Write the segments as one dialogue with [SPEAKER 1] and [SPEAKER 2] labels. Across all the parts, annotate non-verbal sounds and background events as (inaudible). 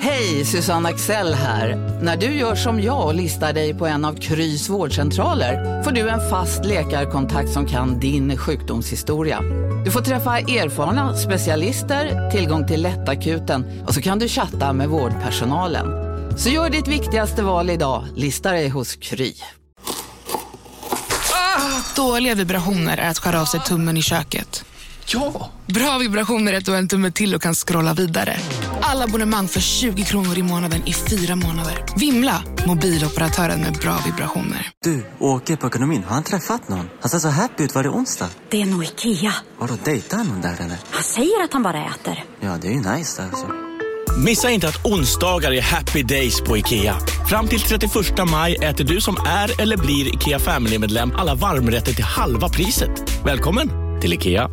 [SPEAKER 1] Hej, Susanne Axel här. När du gör som jag och listar dig på en av Krys vårdcentraler får du en fast läkarkontakt som kan din sjukdomshistoria. Du får träffa erfarna specialister, tillgång till lättakuten och så kan du chatta med vårdpersonalen. Så gör ditt viktigaste val idag, listar dig hos Kry.
[SPEAKER 2] Dåliga vibrationer är att skära av sig tummen i köket.
[SPEAKER 3] Ja!
[SPEAKER 2] Bra vibrationer är att du har en tumme till och kan scrolla vidare. Alla abonnemang för 20 kronor i månaden i fyra månader. Vimla! Mobiloperatören med bra vibrationer.
[SPEAKER 4] Du, åker på ekonomin. Har han träffat någon? Han ser så happy ut. Var det onsdag?
[SPEAKER 5] Det är nog Ikea.
[SPEAKER 4] Har du dejtat någon där eller?
[SPEAKER 5] Han säger att han bara äter.
[SPEAKER 4] Ja, det är ju nice alltså.
[SPEAKER 6] Missa inte att onsdagar är happy days på IKEA. Fram till 31 maj äter du som är eller blir IKEA Family-medlem alla varmrätter till halva priset. Välkommen till IKEA.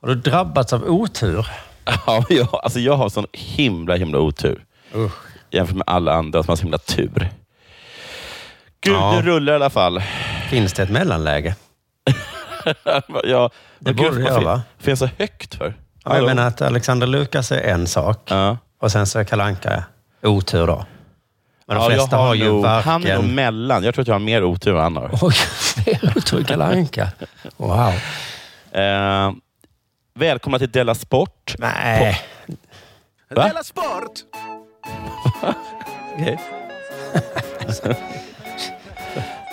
[SPEAKER 7] Har du drabbats av otur?
[SPEAKER 3] (laughs) Ja, men jag, alltså jag har sån himla, himla otur. Jämfört med alla andra som har så himla tur. Gud,
[SPEAKER 7] Ja.
[SPEAKER 3] det rullar i alla fall. (laughs)
[SPEAKER 7] Finns det ett mellanläge?
[SPEAKER 3] ja, men
[SPEAKER 7] borde
[SPEAKER 3] gud,
[SPEAKER 7] det göra,
[SPEAKER 3] varför
[SPEAKER 7] va?
[SPEAKER 3] Finns så högt för?
[SPEAKER 7] Ja, jag menar att Alexander Lukas är en sak
[SPEAKER 3] Ja.
[SPEAKER 7] och sen så är Kalle Anka otur då. Men de
[SPEAKER 3] Ja, jag
[SPEAKER 7] flesta har, ju
[SPEAKER 3] nog-
[SPEAKER 7] varken...
[SPEAKER 3] Han är nog mellan. Jag tror att jag har mer otur än han har.
[SPEAKER 7] Oj, fler (laughs) otur än Kalle Anka. Wow.
[SPEAKER 3] Eh, välkomna till Della Sport.
[SPEAKER 7] Nej.
[SPEAKER 3] Va?
[SPEAKER 8] Sport!
[SPEAKER 3] Okej.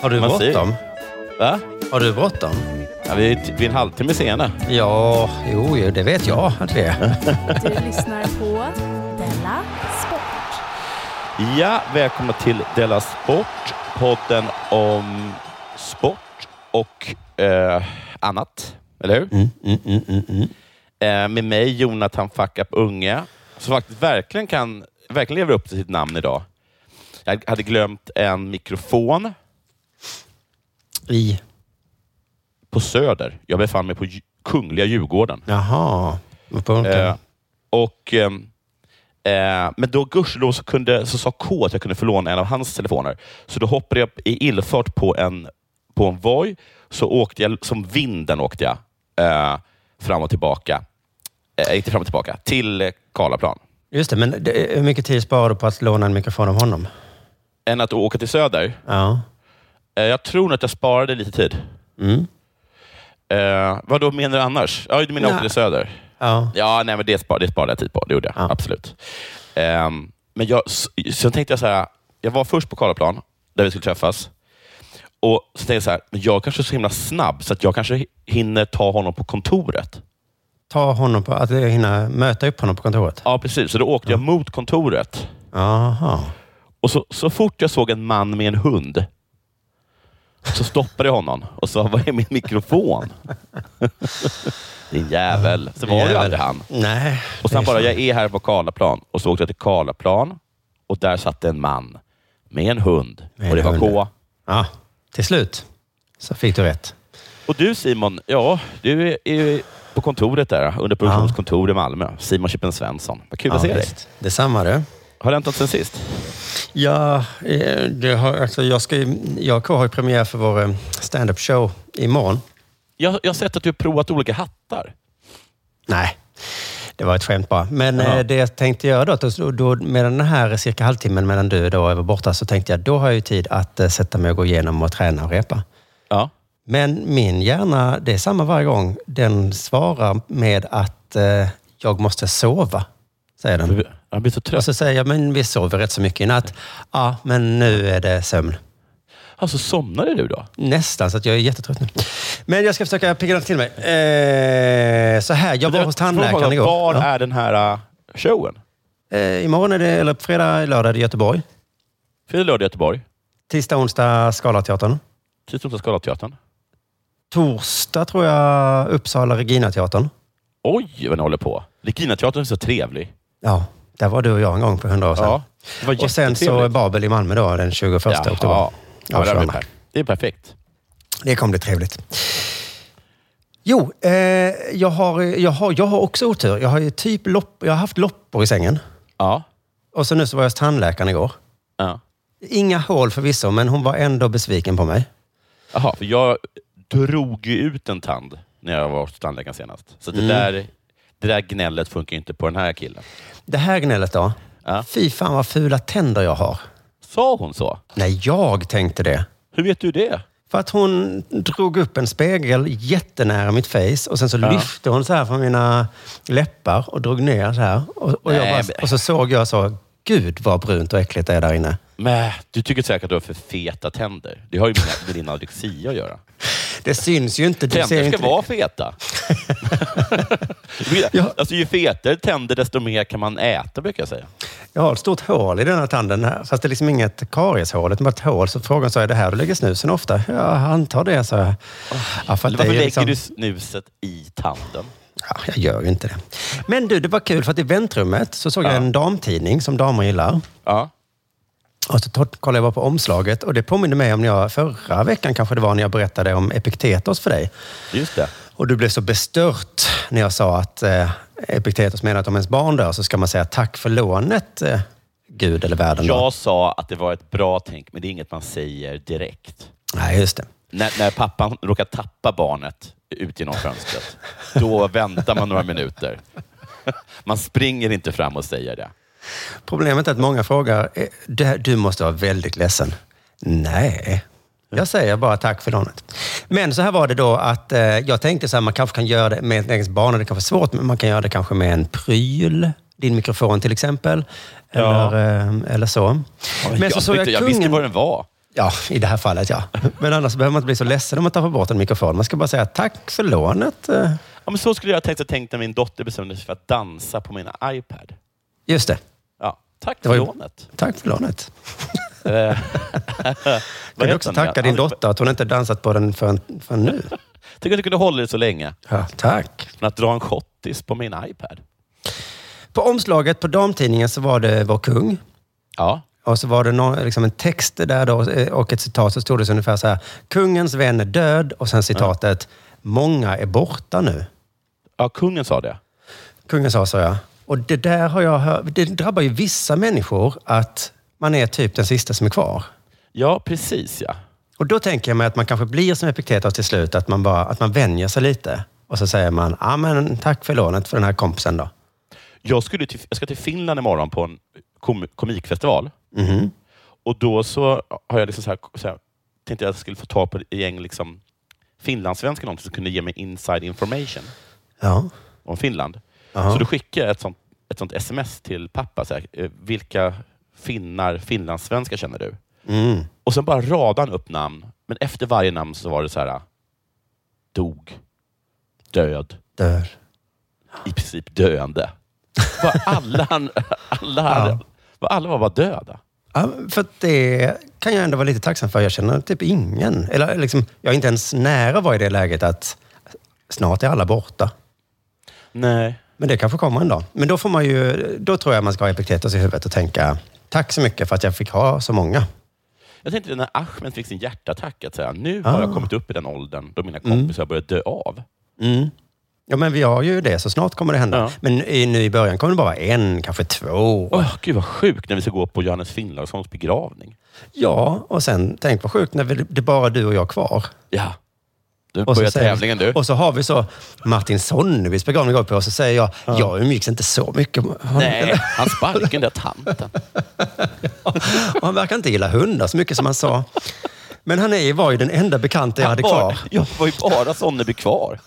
[SPEAKER 7] Har du
[SPEAKER 3] Man ser-
[SPEAKER 7] bråttom?
[SPEAKER 3] Va?
[SPEAKER 7] Har du bråttom?
[SPEAKER 3] Ja, vi, är t- vi är en halvtimme sena.
[SPEAKER 7] Ja, jo, jo, det vet jag att vi är.
[SPEAKER 9] Du lyssnar på Della Sport.
[SPEAKER 3] Ja, välkomna till Della Sport. Podden om sport och eh, annat. Eller hur? Eh, med mig, Jonathan Fuck Up Unge, som faktiskt verkligen, kan, verkligen lever upp till sitt namn idag. Jag hade glömt en mikrofon
[SPEAKER 7] I.
[SPEAKER 3] på Söder. Jag befann mig på Dju- Kungliga Djurgården.
[SPEAKER 7] Jaha. På
[SPEAKER 3] Eh,
[SPEAKER 7] Unken.
[SPEAKER 3] och, ehm, eh, men då gudskelov så, kunde, så sa K att jag kunde få låna en av hans telefoner. Så då hoppade jag i illfart på en, på en Voi. Så åkte jag som vinden åkte jag eh, fram och tillbaka. Eh, inte fram och tillbaka, till eh, Karlaplan.
[SPEAKER 7] Just det, men det, hur mycket tid sparar du på att låna en mikrofon av honom?
[SPEAKER 3] Än att åka till Söder.
[SPEAKER 7] Ja.
[SPEAKER 3] Eh, jag tror nog att jag sparade lite tid.
[SPEAKER 7] Mm.
[SPEAKER 3] Eh, vad då menar du annars? Ja, du menar jag åkte
[SPEAKER 7] Nej.
[SPEAKER 3] till Söder?
[SPEAKER 7] Ja.
[SPEAKER 3] Ja, nej, men det, spar, det sparade jag tid på. Det gjorde jag.
[SPEAKER 7] Ja.
[SPEAKER 3] Absolut. Ehm, men jag, s- sen tänkte jag så här. Jag var först på Karlaplan, där vi skulle träffas. Och så tänkte jag så här, men jag kanske är så himla snabb så att jag kanske hinner ta honom på kontoret.
[SPEAKER 7] Ta honom på... Att hinna möta upp honom på kontoret?
[SPEAKER 3] Ja, precis. Så då åkte jag mot kontoret.
[SPEAKER 7] Jaha.
[SPEAKER 3] Och så, så fort jag såg en man med en hund så stoppade jag honom och sa, var är min mikrofon? Din jävel. Så var det ju
[SPEAKER 7] Jävel.
[SPEAKER 3] aldrig han.
[SPEAKER 7] Nej. det
[SPEAKER 3] Och sen
[SPEAKER 7] är
[SPEAKER 3] bara,
[SPEAKER 7] så.
[SPEAKER 3] jag är här på Karlaplan. Och så åkte jag till Karlaplan och där satt en man med en hund.
[SPEAKER 7] Med
[SPEAKER 3] och det
[SPEAKER 7] en
[SPEAKER 3] var
[SPEAKER 7] hund.
[SPEAKER 3] K.
[SPEAKER 7] Ja, till slut så fick du rätt.
[SPEAKER 3] Och du Simon, ja, du är ju på kontoret där, under produktionskontor i Malmö. Simon Chippen Svensson. Vad kul att se
[SPEAKER 7] ja,
[SPEAKER 3] dig.
[SPEAKER 7] visst. Detsamma du.
[SPEAKER 3] Har det hänt något sen sist?
[SPEAKER 7] Ja, eh, det har, alltså jag, ska, ju- jag och K har ju premiär för vår eh, stand-up show imorgon.
[SPEAKER 3] Jag, jag har sett att du har provat olika hattar.
[SPEAKER 7] Nej, det var ett skämt bara. Men
[SPEAKER 3] Ja.
[SPEAKER 7] eh, det jag tänkte göra då, att då, då, medan den här cirka halvtimmen mellan du och då var borta, så tänkte jag då har jag ju tid att eh, sätta mig och gå igenom och träna och repa.
[SPEAKER 3] Ja.
[SPEAKER 7] Men min hjärna, det är samma varje gång, den svarar med att eh, jag måste sova, säger den.
[SPEAKER 3] Jag blir så trött.
[SPEAKER 7] Och så säger jag, men vi sover rätt så mycket i natt. Ja, men nu är det sömn.
[SPEAKER 3] Alltså, somnade du då?
[SPEAKER 7] Nästan, så att jag är jättetrött nu. Men jag ska försöka pigga till mig. Eh, så här, jag var hos tandläkaren igår.
[SPEAKER 3] Var
[SPEAKER 7] Ja.
[SPEAKER 3] är den här äh, showen?
[SPEAKER 7] Eh, imorgon är det, eller på fredag, lördag är det Göteborg.
[SPEAKER 3] Fredag, lördag, Göteborg. Typ
[SPEAKER 7] Tisdag, onsdag Scalateatern.
[SPEAKER 3] Tisdag, onsdag, Scalateatern.
[SPEAKER 7] Torsdag tror jag Uppsala Regina-teatern.
[SPEAKER 3] Oj, vad ni håller på. Reginateatern är så trevlig.
[SPEAKER 7] Ja, där var du och jag en gång för hundra år sedan.
[SPEAKER 3] Ja, det var
[SPEAKER 7] och sen så
[SPEAKER 3] jättetrevligt.
[SPEAKER 7] Babel i Malmö då, den 21
[SPEAKER 3] Jaha.
[SPEAKER 7] oktober.
[SPEAKER 3] Ja,
[SPEAKER 7] Ja,
[SPEAKER 3] det, blir
[SPEAKER 7] tjugoandra.
[SPEAKER 3] perfekt. det är perfekt.
[SPEAKER 7] Det kommer bli trevligt. Jo, eh, jag, har, jag, har, jag har också otur. Jag har ju typ lopp, jag har haft loppor i sängen.
[SPEAKER 3] Ja.
[SPEAKER 7] Och så nu så var jag hos tandläkaren igår.
[SPEAKER 3] ja.
[SPEAKER 7] Inga hål förvisso, men hon var ändå besviken på mig.
[SPEAKER 3] Jaha, för
[SPEAKER 7] Mm.
[SPEAKER 3] jag drog ju ut en tand när jag var hos tandläkaren senast. Så det där det där gnället funkar ju inte på den här killen.
[SPEAKER 7] Det här gnället då?
[SPEAKER 3] Ja.
[SPEAKER 7] Fy fan vad fula tänder jag har.
[SPEAKER 3] Sa hon så?
[SPEAKER 7] Nej, jag tänkte det.
[SPEAKER 3] Hur vet du det?
[SPEAKER 7] För att hon drog upp en spegel jättenära mitt face och sen så lyfte hon så här från mina läppar och drog ner så här. Och, och, jag
[SPEAKER 3] Nej,
[SPEAKER 7] bara,
[SPEAKER 3] men-
[SPEAKER 7] och så såg jag så, gud vad brunt och äckligt det är där inne.
[SPEAKER 3] Men, du tycker säkert att du har för feta tänder. Det har ju med- med din anorexia att göra.
[SPEAKER 7] Det syns ju inte. Du ser
[SPEAKER 3] Tänder ska
[SPEAKER 7] inte (laughs)
[SPEAKER 3] vara feta.
[SPEAKER 7] Ja.
[SPEAKER 3] alltså, ju fetare tänder, desto mer kan man äta, brukar jag säga.
[SPEAKER 7] Jag har ett stort hål i den här tanden här. Fast det är liksom inget karieshål, utan bara ett hål. Så frågan sa jag, det här du lägger snusen ofta? Ja, jag antar det, sa jag. Ja, för att
[SPEAKER 3] Eller
[SPEAKER 7] det
[SPEAKER 3] varför
[SPEAKER 7] är
[SPEAKER 3] lägger
[SPEAKER 7] liksom...
[SPEAKER 3] du snuset i tanden?
[SPEAKER 7] Ja, jag gör ju inte det. Men du, det var kul för att i väntrummet så såg jag en damtidning som damer gillar.
[SPEAKER 3] Ja.
[SPEAKER 7] Och så tor- Alltså, kollade jag bara på omslaget och det påminner mig om när jag förra veckan kanske det var när jag berättade om Epiktetos för dig.
[SPEAKER 3] Just det.
[SPEAKER 7] Och du blev så bestört när jag sa att eh, Epiktetos menar att om ens barn dör så ska man säga tack för lånet, eh, Gud eller världen. då.
[SPEAKER 3] Jag sa att det var ett bra tänk, men det är inget man säger direkt.
[SPEAKER 7] Nej, just det.
[SPEAKER 3] När, när pappan råkar tappa barnet ut genom fönstret, då väntar man några minuter. (laughs) Man springer inte fram och säger det.
[SPEAKER 7] Problemet är att många frågar, eh, "Det här- du måste vara väldigt ledsen. Nej, jag säger bara tack för lånet. Men så här var det då att eh, jag tänkte så här, man kanske kan göra det med ett eget barn, och det kanske är svårt, men man kan göra det kanske med en pryl. Din mikrofon till exempel.
[SPEAKER 3] Ja.
[SPEAKER 7] Eller, eh, eller så. Men så
[SPEAKER 3] jag,
[SPEAKER 7] såg jag
[SPEAKER 3] tyckte- jag visste
[SPEAKER 7] kungen...
[SPEAKER 3] var den var.
[SPEAKER 7] Ja, i det här fallet ja. Men annars behöver man inte bli så ledsen om man tappar bort en mikrofon. Man ska bara säga tack för lånet. eh.
[SPEAKER 3] Ja, men så skulle jag ha tänkt, tänkt när min dotter bestämde sig för att dansa på min iPad.
[SPEAKER 7] Just det.
[SPEAKER 3] Ja, tack
[SPEAKER 7] var
[SPEAKER 3] för
[SPEAKER 7] ju-
[SPEAKER 3] lånet.
[SPEAKER 7] Tack för lånet.
[SPEAKER 3] Eh,
[SPEAKER 7] Kan
[SPEAKER 3] vad
[SPEAKER 7] du
[SPEAKER 3] heter
[SPEAKER 7] också
[SPEAKER 3] han?
[SPEAKER 7] tacka din
[SPEAKER 3] Han-
[SPEAKER 7] dotter att hon inte dansat på den förrän, förrän nu?
[SPEAKER 3] Tycker att du kunde hålla det så länge.
[SPEAKER 7] Ja, tack.
[SPEAKER 3] Men att dra en schottis på min iPad.
[SPEAKER 7] På omslaget på damtidningen så var det vår kung.
[SPEAKER 3] Ja.
[SPEAKER 7] Och så var det någon, liksom en text där då, eh, och ett citat. Så stod det så ungefär så här. Kungens vän är död. Och sen citatet. Många är borta nu.
[SPEAKER 3] ja, kungen sa det.
[SPEAKER 7] Kungen sa, sa jag. Och det där har jag hört. Det drabbar ju vissa människor att man är typ den sista som är kvar.
[SPEAKER 3] Ja, precis ja.
[SPEAKER 7] Och då tänker jag mig att man kanske blir som Epiktetos till slut. Att man, bara, att man vänjer sig lite. Och så säger man, ja men tack för lånet för den här kompisen då.
[SPEAKER 3] Jag, skulle till, jag ska till Finland imorgon på en kom, komikfestival.
[SPEAKER 7] Mhm.
[SPEAKER 3] Och då så har jag liksom så här, så här, tänkte jag att jag skulle få tag på ett gäng liksom, finlandssvenskar någonting som kunde ge mig inside information
[SPEAKER 7] Ja.
[SPEAKER 3] om Finland.
[SPEAKER 7] Aha.
[SPEAKER 3] Så då skickade jag ett sånt, ett sånt sms till pappa. Så här, eh, vilka finnar, finlandssvenskar känner du?
[SPEAKER 7] Mm.
[SPEAKER 3] Och sen bara radade han upp namn. Men efter varje namn så var det så här. Dog. Död.
[SPEAKER 7] Dör.
[SPEAKER 3] I princip döende. Bara alla, han, alla, hade, alla var bara döda.
[SPEAKER 7] Ja, för att det kan jag ändå vara lite tacksam för. Jag känner typ ingen. Eller liksom, jag är inte ens nära var i det läget att snart är alla borta.
[SPEAKER 3] Nej.
[SPEAKER 7] Men det kanske kommer en dag. Men då får man ju, då tror jag man ska ha Epiktetos i huvudet och tänka tack så mycket för att jag fick ha så många.
[SPEAKER 3] Jag tänkte när Ahmed fick sin hjärtattack, att säga, nu har
[SPEAKER 7] Ah.
[SPEAKER 3] jag kommit upp i den åldern då mina kompisar
[SPEAKER 7] Mm.
[SPEAKER 3] börjar dö av.
[SPEAKER 7] Ja, men vi har ju det, så snart kommer det hända.
[SPEAKER 3] Ja.
[SPEAKER 7] Men i, nu i början kommer det bara en, kanske två.
[SPEAKER 3] Åh, Gud vad sjukt när vi ska gå på Johannes Finnlaugssons begravning.
[SPEAKER 7] Ja, och sen, tänk vad sjukt när vi, det är bara du och jag kvar.
[SPEAKER 3] Ja. Nu
[SPEAKER 7] Och så
[SPEAKER 3] börjar
[SPEAKER 7] säger-
[SPEAKER 3] tävlingen du.
[SPEAKER 7] Och så har vi så Martin Sonnebys begravning går på och så säger jag, jag umgicks inte så mycket med honom.
[SPEAKER 3] Nej, han sparkade den där tanten.
[SPEAKER 7] Och (laughs) han verkar inte gilla hundar så mycket som han sa. Men han är, var ju den enda bekanta jag hade kvar.
[SPEAKER 3] Bara, (laughs) jag var ju bara
[SPEAKER 7] (laughs)
[SPEAKER 3] Sonneby kvar.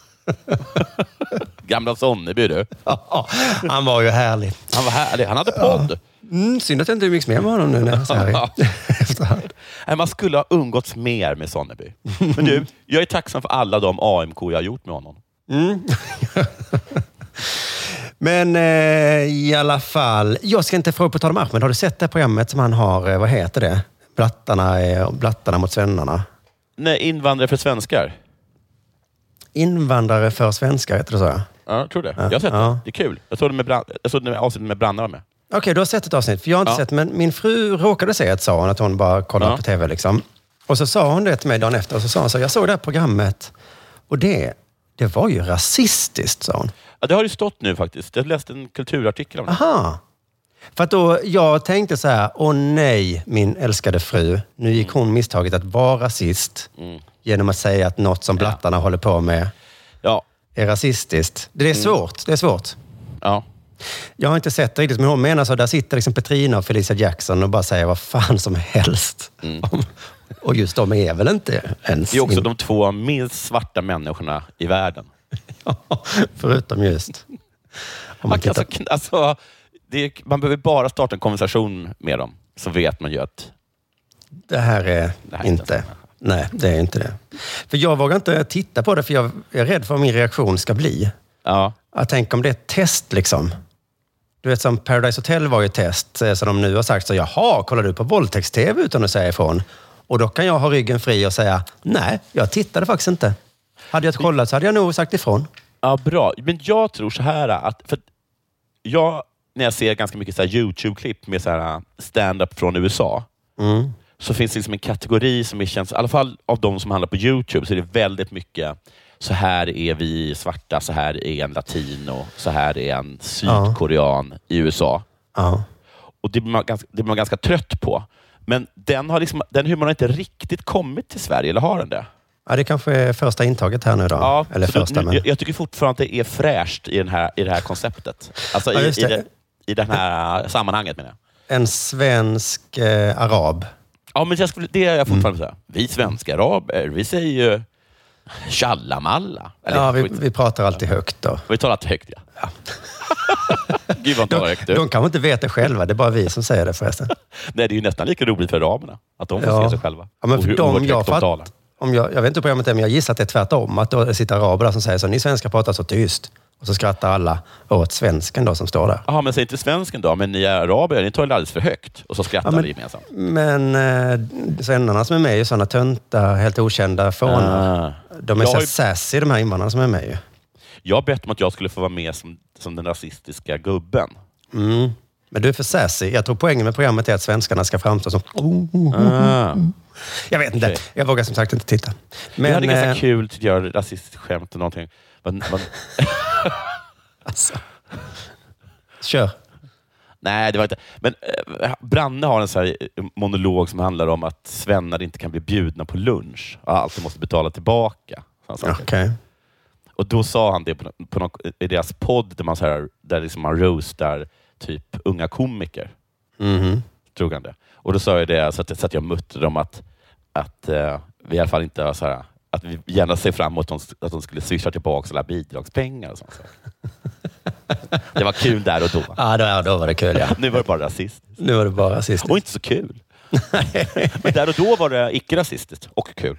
[SPEAKER 3] Gamla Sonneby du.
[SPEAKER 7] Ja, han var ju härlig.
[SPEAKER 3] Han var härlig. Han hade podd.
[SPEAKER 7] Mm, synd att jag inte umgicks mer med honom nu när jag så här i-
[SPEAKER 3] (laughs)
[SPEAKER 7] efterhand.
[SPEAKER 3] Nej, Man skulle ha umgåtts mer med Sonneby. Men du, jag är tacksam för alla de AMK jag har gjort med honom.
[SPEAKER 7] Men eh, i alla fall, jag ska inte fråga på tal om Ahmed. Har du sett det här programmet som han har, eh, vad heter det? Blattarna, eh, blattarna mot svennarna.
[SPEAKER 3] Nej, invandrare för svenskar.
[SPEAKER 7] Invandrare för svenskar heter det så ja.
[SPEAKER 3] Ja, jag tror det. Jag har sett
[SPEAKER 7] Ja.
[SPEAKER 3] det. Det är kul. Jag såg det med, brand... jag såg det med avsnittet med Branna var med.
[SPEAKER 7] Okej, du har sett ett avsnitt. För jag har inte
[SPEAKER 3] Ja.
[SPEAKER 7] sett, men min fru råkade säga att sa hon, att hon bara kollade
[SPEAKER 3] Ja.
[SPEAKER 7] på tv. Liksom. Och så sa hon det till mig dagen efter och så sa hon så här, jag såg det här programmet och det, det var ju rasistiskt, sa hon.
[SPEAKER 3] Ja, det har ju stått nu faktiskt. Jag läste en kulturartikel om det.
[SPEAKER 7] Aha. För att då, jag tänkte så här, åh nej, min älskade fru. Nu gick hon
[SPEAKER 3] Mm.
[SPEAKER 7] misstaget att vara rasist genom att säga att något som blattarna håller på med
[SPEAKER 3] Ja.
[SPEAKER 7] är rasistiskt. Det är
[SPEAKER 3] Mm.
[SPEAKER 7] svårt. Det är svårt.
[SPEAKER 3] Ja.
[SPEAKER 7] Jag har inte sett det riktigt, men hon menar så där sitter liksom Petrina och Felicia Jackson och bara säger vad fan som helst. Om, och just de är väl inte ens...
[SPEAKER 3] Mm. Det är också
[SPEAKER 7] min-
[SPEAKER 3] de två minst svarta människorna i världen.
[SPEAKER 7] (laughs) Förutom just... Om man
[SPEAKER 3] Man, kan,
[SPEAKER 7] tittar,
[SPEAKER 3] alltså, kn- alltså, det är, man behöver bara starta en konversation med dem, så vet man ju att...
[SPEAKER 7] det här är
[SPEAKER 3] Det här är inte
[SPEAKER 7] inte...
[SPEAKER 3] ens-
[SPEAKER 7] Nej, det är inte det. För jag vågar inte titta på det, för jag är rädd för vad min reaktion ska bli.
[SPEAKER 3] Ja,
[SPEAKER 7] Jag tänker om det är ett test liksom. Du vet som Paradise Hotel var ju ett test eh, som de nu har sagt så jaha, kollar du på våldtäkts-tv utan att säga ifrån? Och då kan jag ha ryggen fri och säga nej, jag tittade faktiskt inte. Hade jag kollat så hade jag nog sagt ifrån.
[SPEAKER 3] ja bra. Men jag tror så här att... För att jag, när jag ser ganska mycket så här YouTube-klipp med så här äh, stand-up från USA, så finns det liksom en kategori som är känns, i alla fall av de som handlar på Youtube, så är det väldigt mycket så här är vi svarta, så här är en latino, så här är en sydkorean i USA.
[SPEAKER 7] Ja.
[SPEAKER 3] Och det blir, man ganska, det blir man ganska trött på. Men den, har liksom, den humorn har inte riktigt kommit till Sverige, eller har den det?
[SPEAKER 7] ja, det kanske är första intaget här nu då. Eller
[SPEAKER 3] så då-
[SPEAKER 7] första,
[SPEAKER 3] nu,
[SPEAKER 7] men...
[SPEAKER 3] jag, jag tycker fortfarande att det är fräscht i, den här, i det här konceptet. Alltså
[SPEAKER 7] Ja,
[SPEAKER 3] i,
[SPEAKER 7] just
[SPEAKER 3] i,
[SPEAKER 7] det.
[SPEAKER 3] det, i det här sammanhanget menar jag.
[SPEAKER 7] En svensk eh, arab.
[SPEAKER 3] Ja, men jag skulle, det är jag fortfarande mm. Vi svenska araber, vi säger ju tjallamalla. Eller,
[SPEAKER 7] Ja, vi,
[SPEAKER 3] skit.
[SPEAKER 7] vi pratar alltid högt då.
[SPEAKER 3] vi talar högt, ja. (laughs) Gud vad han talar
[SPEAKER 7] De,
[SPEAKER 3] högt.
[SPEAKER 7] de
[SPEAKER 3] du.
[SPEAKER 7] kanske inte vet det själva, det är bara vi som säger det förresten.
[SPEAKER 3] Nej, det är ju nästan lika roligt för araberna, att de får se sig själva.
[SPEAKER 7] Ja, men
[SPEAKER 3] Och
[SPEAKER 7] för
[SPEAKER 3] hur
[SPEAKER 7] dem
[SPEAKER 3] oerhört
[SPEAKER 7] jag,
[SPEAKER 3] högt de talar.
[SPEAKER 7] fatt, om jag, jag vet inte hur programmet är, men jag gissar att det är tvärtom. Att då sitter araber där som säger så, ni svenskar pratar så tyst. Och så skrattar alla åt svensken då som står där.
[SPEAKER 3] Jaha, men säg inte svensken då, men ni är araber, ni talar alldeles för högt. Och så skrattar
[SPEAKER 7] Ja, men-
[SPEAKER 3] vi gemensamt.
[SPEAKER 7] Men eh, svennarna som är med är ju sådana tönta, helt okända fånar.
[SPEAKER 3] Ah.
[SPEAKER 7] De är
[SPEAKER 3] Jag
[SPEAKER 7] så
[SPEAKER 3] har
[SPEAKER 7] här
[SPEAKER 3] ju-
[SPEAKER 7] sassy, de här invandrarna som är med ju.
[SPEAKER 3] Jag har bett om att jag skulle få vara med som, som den rasistiska gubben.
[SPEAKER 7] Mm. Men du är för sassy. Jag tror poängen med programmet är att svenskarna ska framstå som...
[SPEAKER 3] Ah.
[SPEAKER 7] Jag vet inte.
[SPEAKER 3] Okej.
[SPEAKER 7] Jag vågar som sagt inte titta.
[SPEAKER 3] jag hade
[SPEAKER 7] Men
[SPEAKER 3] ganska
[SPEAKER 7] eh,
[SPEAKER 3] kul att göra rasistiskt skämt eller någonting. Men,
[SPEAKER 7] (laughs)
[SPEAKER 3] men,
[SPEAKER 7] kör.
[SPEAKER 3] nej, det var inte... Men eh, Branne har en så här eh, monolog som handlar om att svennar inte kan bli bjudna på lunch och alltid måste betala tillbaka. Såna saker.
[SPEAKER 7] Okej.
[SPEAKER 3] Och då sa han det på, på någon, i deras podd där man, så här, där liksom man roastar typ unga komiker.
[SPEAKER 7] Mhm.
[SPEAKER 3] Drog han det. Och då sa jag det så att, så att jag mötte dem att, att eh, vi i alla fall inte har så här, att vi gärna ser fram emot att de, att de skulle swisha tillbaka alla bidragspengar och sånt. saker. Det var kul där och då.
[SPEAKER 7] Ja, då, då var det kul ja.
[SPEAKER 3] Nu var det bara rasistiskt.
[SPEAKER 7] Nu var det bara rasistiskt.
[SPEAKER 3] Och inte så kul. Men där och då var det icke-rasistiskt och kul.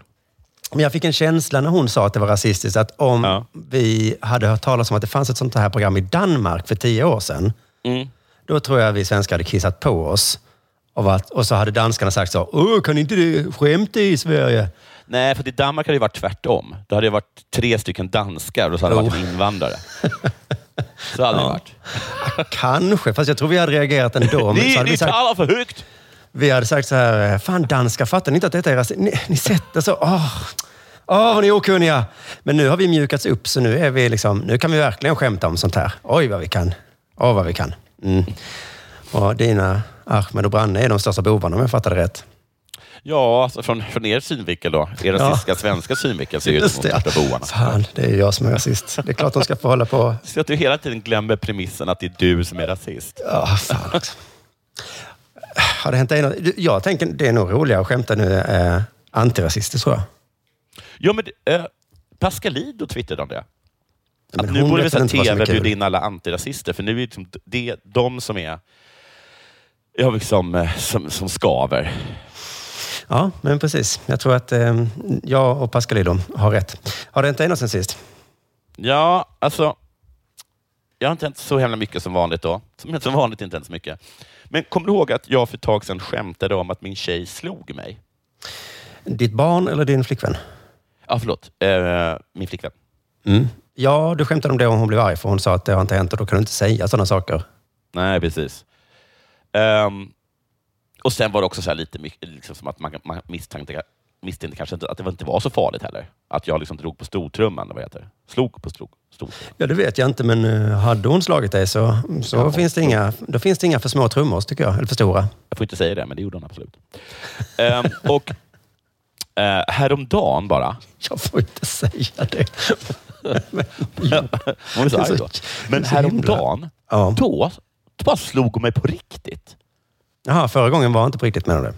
[SPEAKER 7] Men jag fick en känsla när hon sa att det var rasistiskt, att om
[SPEAKER 3] Ja.
[SPEAKER 7] vi hade hört talas om att det fanns ett sånt här program i Danmark för tio år sedan, då tror jag vi svenskar hade kissat på oss. Och, varit, och så hade danskarna sagt så, Åh, kan inte det skämta i Sverige?
[SPEAKER 3] Nej, för i Danmark hade det varit tvärtom. Då hade det varit tre stycken danskar och så hade det
[SPEAKER 7] Jo.
[SPEAKER 3] varit en
[SPEAKER 7] (laughs)
[SPEAKER 3] invandrare. Så hade det varit.
[SPEAKER 7] Kanske, fast jag tror vi hade reagerat ändå. Men så
[SPEAKER 3] Ni,
[SPEAKER 7] hade vi,
[SPEAKER 3] ni
[SPEAKER 7] sagt,
[SPEAKER 3] talar för högt!
[SPEAKER 7] vi hade sagt så här, eh, fan danskar, fattar ni inte att detta är rasistiskt? Ni, ni sätter så, åh, åh vad ni är okunniga. Men nu har vi mjukats upp, så nu, är vi liksom, nu kan vi verkligen skämta om sånt här. Oj vad vi kan, åh vad vi kan. Mm. Och dina Ahmed och Branne är de största bovarna om jag fattade rätt.
[SPEAKER 3] Ja, alltså från, från er synvinkel då. Er rasistiska svenska synvinkel så är ju de största bovarna.
[SPEAKER 7] Fan, det är jag som är rasist. Det är klart de ska få hålla på.
[SPEAKER 3] Så att du hela tiden glömmer premissen att det är du som är rasist.
[SPEAKER 7] Ja, fan också. Har det hänt dig något? Du, Jag tänker, det är nog roligare att skämta nu eh, antirasistiskt tror jag.
[SPEAKER 3] Ja, men eh, Pascalido twittrade om det.
[SPEAKER 7] Men
[SPEAKER 3] Att nu
[SPEAKER 7] hon
[SPEAKER 3] borde vi
[SPEAKER 7] vet
[SPEAKER 3] så
[SPEAKER 7] väl inte
[SPEAKER 3] här
[SPEAKER 7] vad som är
[SPEAKER 3] TV
[SPEAKER 7] kul.
[SPEAKER 3] bjuda in alla antirasister, för nu är det liksom det, de som är ja, liksom, eh, som, som skaver.
[SPEAKER 7] Ja, men precis. Jag tror att eh, jag och Pascalido har rätt. Har det inte hänt något sen sist?
[SPEAKER 3] Ja, alltså. Jag har inte hänt så himla mycket som vanligt då. Som, som vanligt inte hänt så mycket. Men kommer du ihåg att jag för ett tag sedan skämtade om att min tjej slog mig?
[SPEAKER 7] Ditt barn eller din flickvän?
[SPEAKER 3] Ja, förlåt. Eh, min flickvän.
[SPEAKER 7] Ja, du skämtade om det och hon blev arg för hon sa att det har inte hänt och då kan du inte säga sådana saker.
[SPEAKER 3] Nej, precis. Ehm, och sen var det också så här lite mycket, liksom som att man, man misstänkte, misstänkte kanske inte, att det inte var så farligt heller. Att jag liksom drog på stortrumman, eller vad heter det? Slog på stor, stortrumman.
[SPEAKER 7] Ja, det vet jag inte, men eh, hade hon slagit dig så, så finns det inga, då finns det inga för små trummor, tycker jag. Eller för (laughs) stora.
[SPEAKER 3] Jag får inte säga det, men det gjorde hon absolut. Ehm, och uh, häromdagen bara,
[SPEAKER 7] Jag får inte säga det.
[SPEAKER 3] Hon är så
[SPEAKER 7] Det är så-
[SPEAKER 3] arg då. Men
[SPEAKER 7] det är så himla-
[SPEAKER 3] häromdagen,
[SPEAKER 7] Ja.
[SPEAKER 3] då bara slog hon mig på riktigt.
[SPEAKER 7] Jaha, förra gången var inte på riktigt menar du?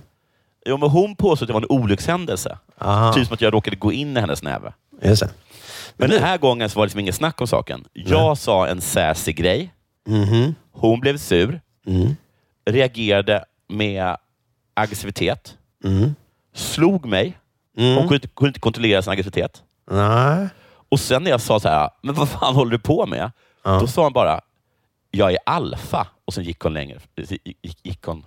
[SPEAKER 3] Jo, men hon påstod att det var en olyckshändelse.
[SPEAKER 7] Aha.
[SPEAKER 3] Typ som att jag råkade gå in i hennes näve.
[SPEAKER 7] Just det.
[SPEAKER 3] Men den här gången så var det liksom inget snack om saken. Jag sa en säsig grej.
[SPEAKER 7] Mhm.
[SPEAKER 3] Hon blev sur.
[SPEAKER 7] Mm.
[SPEAKER 3] Reagerade med aggressivitet.
[SPEAKER 7] Mm.
[SPEAKER 3] Slog mig. Hon kunde, inte- kunde inte kontrollera sin aggressivitet.
[SPEAKER 7] Nej.
[SPEAKER 3] Och sen när jag sa så här, men vad fan håller du på med? Då sa hon bara, jag är alfa. Och sen gick hon längre. Gick, gick hon.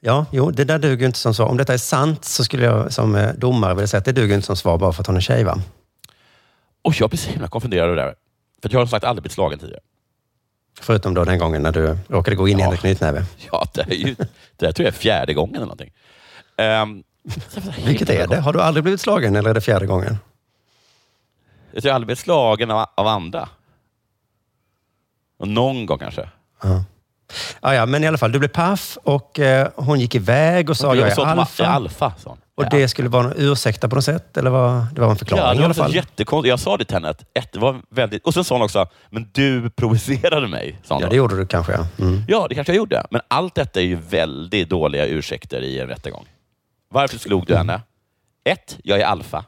[SPEAKER 7] Ja, jo, det där duger inte som svar. Om detta är sant så skulle jag som eh, domare vilja säga att det duger inte som svar bara för att hon är tjej, va?
[SPEAKER 3] Och jag blir så himla konfunderad över det där. För att jag har som sagt aldrig blivit slagen tidigare. (laughs)
[SPEAKER 7] Förutom då den gången när du råkade gå in i
[SPEAKER 3] Ja.
[SPEAKER 7] hennes knytnäve.
[SPEAKER 3] Ja, det, är ju, det här tror jag är fjärde gången eller någonting. Ehm, så jag var så himla
[SPEAKER 7] Vilket är det? Har du aldrig blivit slagen eller är det fjärde gången?
[SPEAKER 3] Jag tror jag aldrig blivit slagen av, av andra. Och någon gång kanske.
[SPEAKER 7] Ah, Ja, ja, men i alla fall, du blev paff och eh, hon gick iväg och sa
[SPEAKER 3] Jag
[SPEAKER 7] jag
[SPEAKER 3] sa
[SPEAKER 7] är
[SPEAKER 3] att de var-
[SPEAKER 7] alfa.
[SPEAKER 3] jag är alfa, sa hon.
[SPEAKER 7] Och det skulle vara en ursäkta på något sätt? Eller vad, det var en förklaring
[SPEAKER 3] Ja,
[SPEAKER 7] i
[SPEAKER 3] det
[SPEAKER 7] alla
[SPEAKER 3] var
[SPEAKER 7] fall?
[SPEAKER 3] jättekonstigt. Jag sa det till henne. Att ett, det var väldigt... Och sen sa hon också, men du provocerade mig. Sa hon
[SPEAKER 7] Ja,
[SPEAKER 3] då.
[SPEAKER 7] det gjorde du kanske, ja. Mm. (laughs)
[SPEAKER 3] ja, det kanske jag gjorde. Men allt detta är ju väldigt dåliga ursäkter i en rättegång. Varför slog du henne? Ett, jag är alfa.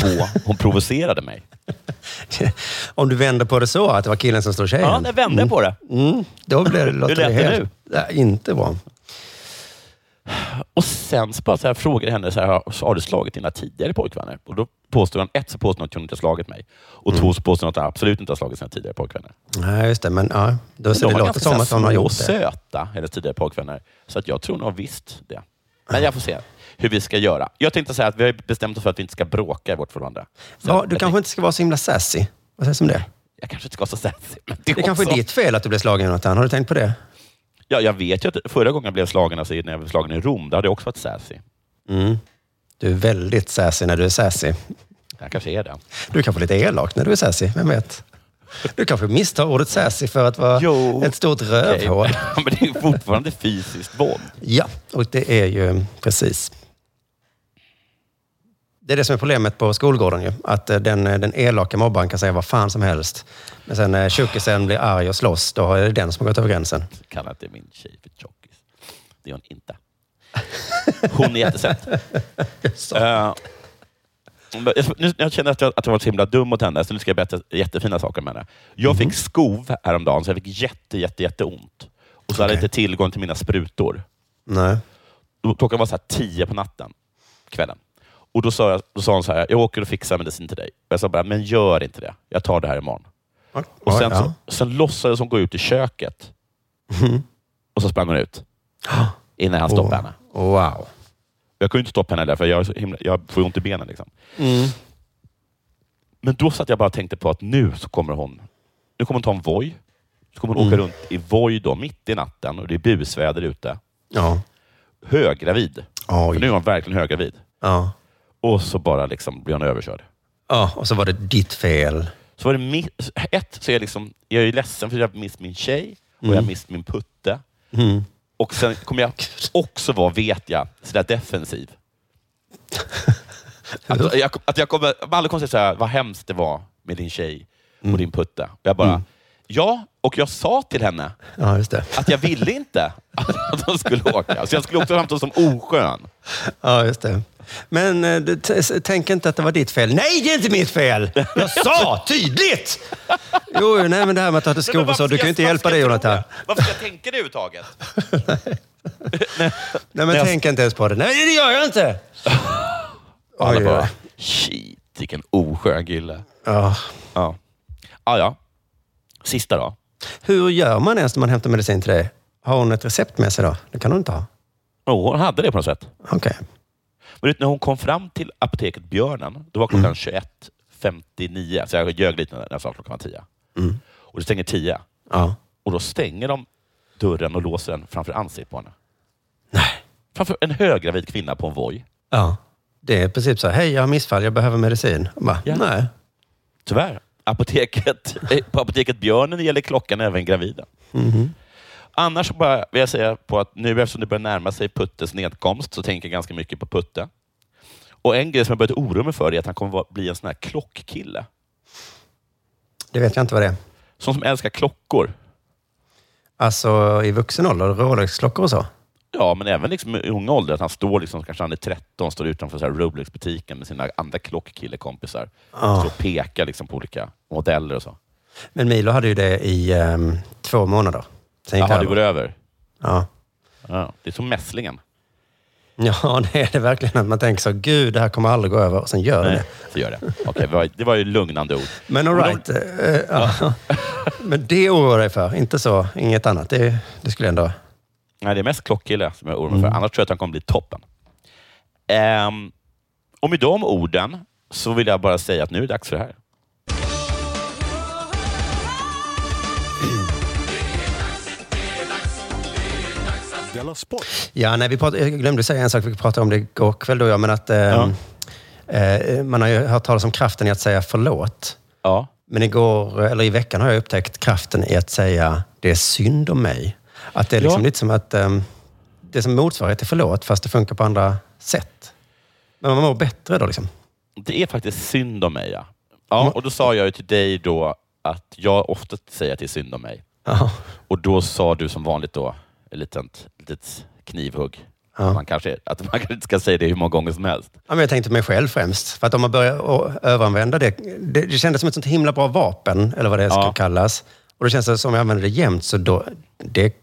[SPEAKER 3] Två, hon provocerade mig.
[SPEAKER 7] Om du vänder på det så, att det var killen som slog tjejen.
[SPEAKER 3] Ja, jag vände på det.
[SPEAKER 7] mm, då blir det
[SPEAKER 3] (laughs) Hur lät det nu?
[SPEAKER 7] Nej, inte bra.
[SPEAKER 3] Och sen så bara så här frågade jag henne, så här, "Har- har du slagit dina tidigare pojkvänner? Och då påstod hon, ett så påstod hon att hon inte har slagit mig. Och två så påstod hon att hon absolut inte har slagit sina tidigare pojkvänner.
[SPEAKER 7] Nej, just Mm. det. Men ja, då
[SPEAKER 3] de
[SPEAKER 7] ser det
[SPEAKER 3] var
[SPEAKER 7] låter
[SPEAKER 3] ganska
[SPEAKER 7] som
[SPEAKER 3] så här
[SPEAKER 7] att hon har
[SPEAKER 3] små
[SPEAKER 7] gjort
[SPEAKER 3] och
[SPEAKER 7] det.
[SPEAKER 3] söta, hennes tidigare pojkvänner. Så att jag tror nog visst det. Men jag får se hur vi ska göra. Jag tänkte säga att vi har bestämt oss för att vi inte ska bråka i vårt förhållande. Så
[SPEAKER 7] Ja,
[SPEAKER 3] jag
[SPEAKER 7] du
[SPEAKER 3] tänkte-
[SPEAKER 7] kanske inte ska vara så himla sassy. Vad sägs om det?
[SPEAKER 3] Jag kanske inte ska vara så sassy. Men det
[SPEAKER 7] Det kanske är
[SPEAKER 3] också-
[SPEAKER 7] ditt fel att du blev slagen, Jonathan. Har du tänkt på det?
[SPEAKER 3] Ja, jag vet ju att förra gången jag blev slagen, alltså, när jag blev slagen i Rom, då hade jag också varit sassy.
[SPEAKER 7] Du är väldigt sassy när du är sassy.
[SPEAKER 3] Jag kanske är det.
[SPEAKER 7] Du kanske är lite elak när du är sassy, vem vet? Du kanske misstar ordet sassy för att vara
[SPEAKER 3] Jo.
[SPEAKER 7] ett stort
[SPEAKER 3] Okej. (laughs)
[SPEAKER 7] rövhål.
[SPEAKER 3] men det är ju fortfarande fysiskt våld.
[SPEAKER 7] Ja, och det är ju precis. Det är det som är problemet på skolgården ju. Att eh, den, eh, den elaka mobbaren kan säga vad fan som helst. Men sen när tjockisen blir arg och slåss, då är det den som har gått över gränsen.
[SPEAKER 3] kallar inte min tjej för tjockis. Det är hon inte. Hon är jättesöt.
[SPEAKER 7] (laughs)
[SPEAKER 3] Eh, men jag- nu, jag känner att jag, att jag var så himla dum mot henne, så nu ska jag berätta jättefina saker om henne. Jag
[SPEAKER 7] Mhm.
[SPEAKER 3] fick skov häromdagen, så jag fick jätte, jätte, jätteont. Och så hade jag
[SPEAKER 7] Okej.
[SPEAKER 3] inte tillgång till mina sprutor.
[SPEAKER 7] Nej.
[SPEAKER 3] Då- Klockan var så här tio på natten, kvällen. Och då sa, jag, då sa hon så här, jag åker och fixar medicin till dig. Och jag sa bara, men gör inte det. Jag tar det här imorgon. Och sen,
[SPEAKER 7] ja. Mhm.
[SPEAKER 3] så, sen låtsades hon gå ut i köket. Och så sprang
[SPEAKER 7] (gasps)
[SPEAKER 3] hon ut. Innan han stoppade henne.
[SPEAKER 7] Wow.
[SPEAKER 3] Jag kunde inte stoppa henne där, för jag, är så himla, jag får ju ont i benen. Liksom.
[SPEAKER 7] Mm.
[SPEAKER 3] Men då satt jag bara och tänkte på att nu så kommer hon nu kommer hon ta en Voi. Så kommer hon
[SPEAKER 7] Mm.
[SPEAKER 3] åka runt i Voi då, mitt i natten och det är busväder ute.
[SPEAKER 7] Ja.
[SPEAKER 3] Höggravid.
[SPEAKER 7] Oj.
[SPEAKER 3] För nu är hon verkligen höggravid.
[SPEAKER 7] Ja.
[SPEAKER 3] Och så bara liksom blir hon överkörd.
[SPEAKER 7] ja. Och så var det ditt fel.
[SPEAKER 3] Så var det miss, ett, så är jag, liksom, jag är ju ledsen för att jag har mist min tjej och
[SPEAKER 7] Mm.
[SPEAKER 3] jag har mist min putte. Och sen kommer jag också vara, vet jag, sådär
[SPEAKER 7] (laughs)
[SPEAKER 3] defensiv. Att jag, att jag kommer, alla kommer säga såhär, vad hemskt det var med din tjej och
[SPEAKER 7] Mm.
[SPEAKER 3] din putte. Och jag bara, ja, och jag sa till henne
[SPEAKER 7] Ja, just det.
[SPEAKER 3] att jag ville inte att de skulle åka. Så jag skulle också framstå som oskön.
[SPEAKER 7] Ja, just det. Men eh, du, t- s- tänk inte att det var ditt fel. Nej, det är inte mitt fel! Jag sa tydligt! Jo, jo, nej, men det här med att ta till skov och så. Du kan ju inte hjälpa det, Jonathan.
[SPEAKER 3] Varför ska jag tänka det överhuvudtaget?
[SPEAKER 7] Nej, men
[SPEAKER 3] jag-
[SPEAKER 7] tänk inte ens på det. Nej, det gör jag inte!
[SPEAKER 3] Alla
[SPEAKER 7] Oj,
[SPEAKER 3] bara,
[SPEAKER 7] oj.
[SPEAKER 3] shit vilken oskön kille.
[SPEAKER 7] Ja.
[SPEAKER 3] Ja. Ah, ja. Sista då.
[SPEAKER 7] Hur gör man ens när man hämtar medicin till dig? Har hon ett recept med sig då? Det kan hon inte ha.
[SPEAKER 3] Oh, hon hade det på något sätt.
[SPEAKER 7] Okej.
[SPEAKER 3] Men vet, du, när hon kom fram till apoteket Björnen, då var
[SPEAKER 7] Mm.
[SPEAKER 3] klockan 21.59. Så jag ljög lite när jag sa att klockan var 10.
[SPEAKER 7] Mm.
[SPEAKER 3] Och det stänger 10.
[SPEAKER 7] Ja.
[SPEAKER 3] Och då stänger de dörren och låser den framför ansiktet på henne.
[SPEAKER 7] Nej.
[SPEAKER 3] Framför en höggravid kvinna på en voj.
[SPEAKER 7] Ja. Det är i princip så här, hej, jag har missfall, jag behöver medicin. Och Bara,
[SPEAKER 3] Ja.
[SPEAKER 7] Nej.
[SPEAKER 3] Tyvärr. Apoteket, eh, på apoteket Björnen gäller klockan även gravida. Annars så bara vill jag säga på att nu eftersom det börjar närma sig Puttes nedkomst så tänker jag ganska mycket på Putte. Och en grej som jag börjat oroa mig för är att han kommer vara- bli en sån här klockkille.
[SPEAKER 7] Det vet jag inte vad det är.
[SPEAKER 3] Sån som älskar klockor.
[SPEAKER 7] Alltså i vuxen ålder, Rolex-klockor och så.
[SPEAKER 3] Ja, men även liksom i unga ålder. Att han står liksom, kanske han är 13, står utanför så här Rolex-butiken med sina andra klockkillekompisar. Står och pekar liksom på olika modeller och så.
[SPEAKER 7] Men Milo hade ju det i ehm, två månader. Sen gick
[SPEAKER 3] Jaha, det
[SPEAKER 7] över.
[SPEAKER 3] går över.
[SPEAKER 7] Ja. (laughs)
[SPEAKER 3] Ja, det är som mässlingen.
[SPEAKER 7] ja, det är det verkligen. Att man tänker så, gud, det här kommer aldrig gå över. Och sen gör det det.
[SPEAKER 3] Nej, så gör det. Okej, det var- det var ju lugnande ord.
[SPEAKER 7] Men all right. eh, ja. (laughs) Men det oroar jag dig för, inte så. Inget annat. Det, det skulle ändå...
[SPEAKER 3] Nej, det är mest klockkille som jag oroar mig för. Annars tror jag att han kommer bli toppen. Ehm, och med de orden så vill jag bara säga att nu är det dags för det här.
[SPEAKER 6] Della Sport.
[SPEAKER 7] Ja, nej, vi prat, jag glömde säga en sak vi pratade om det igår kväll då, ja, men att ehm, eh, man har ju hört talas om kraften i att säga förlåt.
[SPEAKER 3] Ja.
[SPEAKER 7] Men igår, eller i veckan har jag upptäckt kraften i att säga det är synd om mig. Att det är liksom
[SPEAKER 3] Ja.
[SPEAKER 7] lite som att ehm, det är som motsvarighet till förlåt fast det funkar på andra sätt. Men man mår bättre då liksom.
[SPEAKER 3] Det är faktiskt synd om mig. Ja. Ja, och då sa jag ju till dig då att jag ofta säger att det är synd om mig.
[SPEAKER 7] Ja.
[SPEAKER 3] Och då sa du som vanligt då, ett litet, litet knivhugg. Att Man kanske, att man (laughs) kanske inte ska säga det hur många gånger som helst.
[SPEAKER 7] Ja, men jag tänkte på mig själv främst. För att om man börjar å- överanvända det, det. Det kändes som ett sånt himla bra vapen, eller vad det ska
[SPEAKER 3] Ja.
[SPEAKER 7] kallas. Och det känns det som om jag använder det jämt, så då... Det,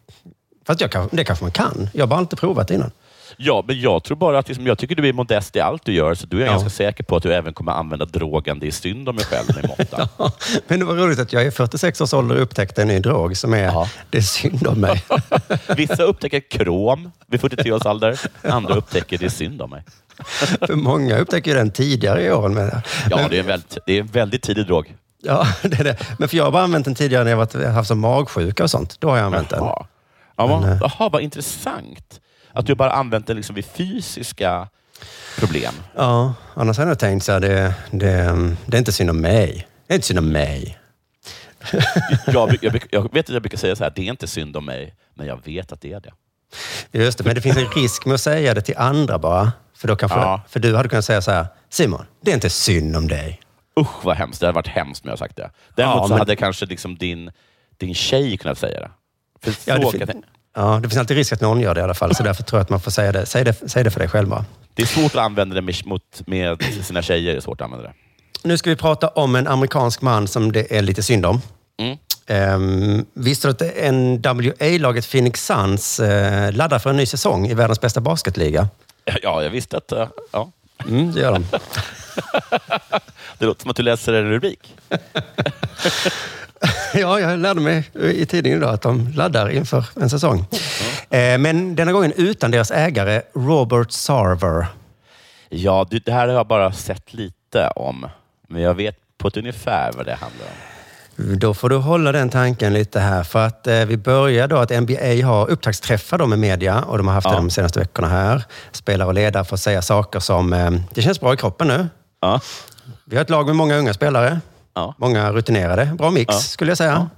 [SPEAKER 7] fast jag, kan- det kanske man kan. Jag har bara inte provat det innan.
[SPEAKER 3] Ja, men jag tror bara att liksom, jag tycker du är modest i allt du gör, så du är jag
[SPEAKER 7] Ja.
[SPEAKER 3] ganska säker på att du även kommer använda drogen Det är synd om mig själv med
[SPEAKER 7] (laughs)
[SPEAKER 3] måtta.
[SPEAKER 7] Men det var roligt att jag i 46 års ålder upptäckte en ny drog som är...
[SPEAKER 3] Ja.
[SPEAKER 7] Det är synd om
[SPEAKER 3] (laughs)
[SPEAKER 7] mig.
[SPEAKER 3] (laughs) Vissa upptäcker krom vid 43 års ålder. Andra upptäcker det är synd om mig.
[SPEAKER 7] För många upptäcker ju den tidigare i åren. Men,
[SPEAKER 3] Ja,
[SPEAKER 7] men,
[SPEAKER 3] det är en väldigt, det är en väldigt tidig drog.
[SPEAKER 7] ja, det är det. Men för jag har bara använt den tidigare när jag varit, haft som magsjuka och sånt. Då har jag använt den.
[SPEAKER 3] Jaha. Ja, vad-
[SPEAKER 7] eh,
[SPEAKER 3] jaha, vad intressant. Att du bara använt den liksom vid fysiska problem.
[SPEAKER 7] Ja, annars hade jag tänkt så här, det, det, det är inte synd om mig. Det är inte synd om mig.
[SPEAKER 3] Jag, bruk- jag, bruk- jag vet att jag brukar säga så här, det är inte synd om mig, men jag vet att det är det.
[SPEAKER 7] Just det, men det finns en risk med att säga det till andra bara. För, då kanske,
[SPEAKER 3] Ja.
[SPEAKER 7] för du hade kunnat säga så här, Simon, det är inte synd om dig.
[SPEAKER 3] Usch vad hemskt. Det hade varit hemskt om jag sagt det. Däremot
[SPEAKER 7] Ja,
[SPEAKER 3] så
[SPEAKER 7] men-
[SPEAKER 3] hade kanske liksom din, din tjej kunnat säga det. För så
[SPEAKER 7] det,
[SPEAKER 3] kan
[SPEAKER 7] fin-
[SPEAKER 3] jag-
[SPEAKER 7] ja, det finns alltid risk att någon gör det i alla fall, så därför tror jag att man får säga det. Säg det, säg det för dig själv bara.
[SPEAKER 3] det är svårt att använda det med, mot, med sina tjejer. Det är svårt att använda det.
[SPEAKER 7] Nu ska vi prata om en amerikansk man som det är lite synd om. Mm. Ehm, visste du att NWA-laget Phoenix Suns eh, laddar för en ny säsong i världens bästa basketliga?
[SPEAKER 3] Ja, jag visste att... eh, Ja.
[SPEAKER 7] Mm, det gör de.
[SPEAKER 3] Det låter som att du läser en rubrik.
[SPEAKER 7] (laughs) Ja, jag lärde mig i tidningen idag att de laddar inför en säsong. Eh, Men denna gången utan deras ägare Robert Sarver.
[SPEAKER 3] Ja, du, det här har jag bara sett lite om. Men jag vet på ett ungefär vad det handlar om.
[SPEAKER 7] Då får du hålla den tanken lite här. För att eh, vi börjar då att NBA har upptaktsträffar då med media och de har haft det de senaste veckorna här. Spelare och ledare får säga saker som, eh, det känns bra i kroppen nu.
[SPEAKER 3] Ja.
[SPEAKER 7] Vi har ett lag med många unga spelare.
[SPEAKER 3] Ja.
[SPEAKER 7] Många rutinerade. Bra mix,
[SPEAKER 3] Ja.
[SPEAKER 7] skulle jag säga.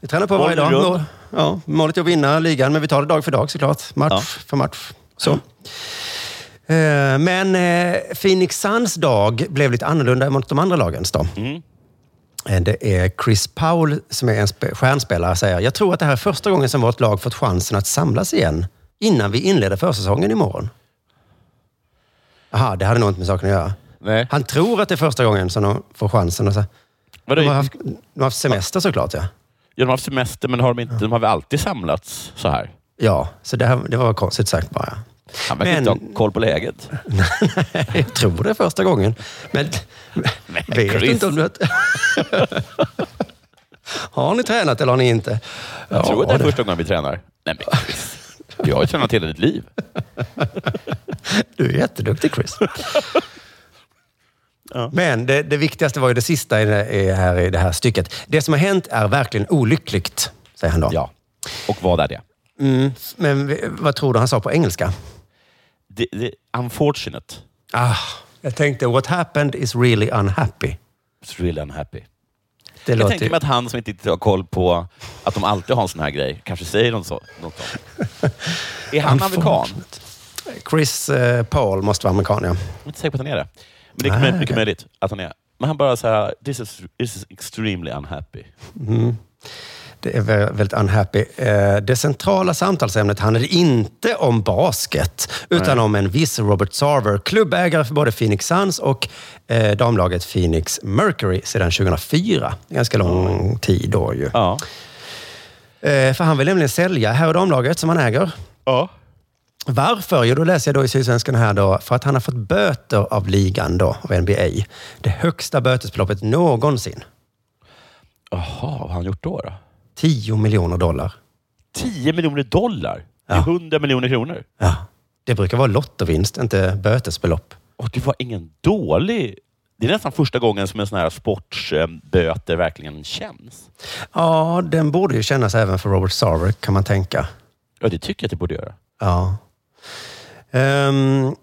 [SPEAKER 7] Vi tränar på
[SPEAKER 3] Bollen
[SPEAKER 7] varje dag.
[SPEAKER 3] runt.
[SPEAKER 7] Mål, ja, målet är att vinna ligan, men vi tar det dag för dag såklart. Match
[SPEAKER 3] Ja.
[SPEAKER 7] för match. Så. Eh, Men eh, Phoenix Suns dag blev lite annorlunda mot de andra lagens dag.
[SPEAKER 3] Mm.
[SPEAKER 7] Eh, Det är Chris Paul som är en spe- stjärnspelare säger jag tror att det här är första gången som vårt lag fått chansen att samlas igen innan vi inleder försäsongen imorgon. Aha, det hade nog inte med saken att göra.
[SPEAKER 3] Nej.
[SPEAKER 7] Han tror att det är första gången som de får chansen. Och så.
[SPEAKER 3] Vadå,
[SPEAKER 7] De, har haft, de har haft semester såklart, ja.
[SPEAKER 3] Ja, de har haft semester, men har de, inte, de har väl alltid samlats så här?
[SPEAKER 7] Ja, så det, här, det var konstigt sagt bara. (laughs)
[SPEAKER 3] Han verkar
[SPEAKER 7] Men-
[SPEAKER 3] inte ha koll på läget.
[SPEAKER 7] Jag tror det är första gången.
[SPEAKER 3] (laughs)
[SPEAKER 7] Men vet
[SPEAKER 3] Chris.
[SPEAKER 7] inte om du... (laughs) har ni tränat eller har ni inte?
[SPEAKER 3] Jag tror att det är
[SPEAKER 7] det-
[SPEAKER 3] första gången vi tränar. Nej, men Chris. Du har ju tränat hela ditt liv.
[SPEAKER 7] Du är jätteduktig
[SPEAKER 3] (laughs)
[SPEAKER 7] Chris. Men det, det viktigaste var ju det sista i det, i, här, i det här stycket. Det som har hänt är verkligen olyckligt, säger han då.
[SPEAKER 3] Ja. Och vad är det?
[SPEAKER 7] Mm, men vi- vad tror du han sa på engelska?
[SPEAKER 3] det, det unfortunate.
[SPEAKER 7] Ah, jag tänkte, what happened is really unhappy.
[SPEAKER 3] It's really unhappy.
[SPEAKER 7] Det
[SPEAKER 3] Jag
[SPEAKER 7] låter
[SPEAKER 3] tänker mig att han som inte riktigt har koll på att de alltid har en sån här grej, kanske säger något så. Något sånt. är han amerikan?
[SPEAKER 7] Unfortunate. Chris eh, Paul måste vara amerikan, ja.
[SPEAKER 3] Jag är inte säker på att han är det. Men det är mycket,
[SPEAKER 7] Ah,
[SPEAKER 3] mycket
[SPEAKER 7] okej.
[SPEAKER 3] möjligt att han är. Men han bara så här, this is, this is extremely unhappy.
[SPEAKER 7] Det är vä- väldigt unhappy. Eh, Det centrala samtalsämnet handlade inte om basket, utan om en viss Robert Sarver, klubbägare för både Phoenix Suns och eh, damlaget Phoenix Mercury sedan 2004. Ganska lång tid då ju.
[SPEAKER 3] Ja.
[SPEAKER 7] Eh, För han vill nämligen sälja herr och damlaget som han äger.
[SPEAKER 3] ja.
[SPEAKER 7] Varför? Jo, då läser jag då i Sydsvenskan här då, för att han har fått böter av ligan då, av NBA. Det högsta bötesbeloppet någonsin.
[SPEAKER 3] Jaha, vad har han gjort då? då?
[SPEAKER 7] 10 miljoner dollar.
[SPEAKER 3] 10 miljoner dollar? Det är
[SPEAKER 7] Ja.
[SPEAKER 3] 100 miljoner kronor.
[SPEAKER 7] Ja. Det brukar vara lottovinst, inte bötesbelopp.
[SPEAKER 3] Och det var ingen dålig... Det är nästan första gången som en sån här sportsböter verkligen känns.
[SPEAKER 7] Ja, den borde ju kännas även för Robert Sarver, kan man tänka.
[SPEAKER 3] Ja, det tycker jag att det borde göra.
[SPEAKER 7] Ja. Ehm,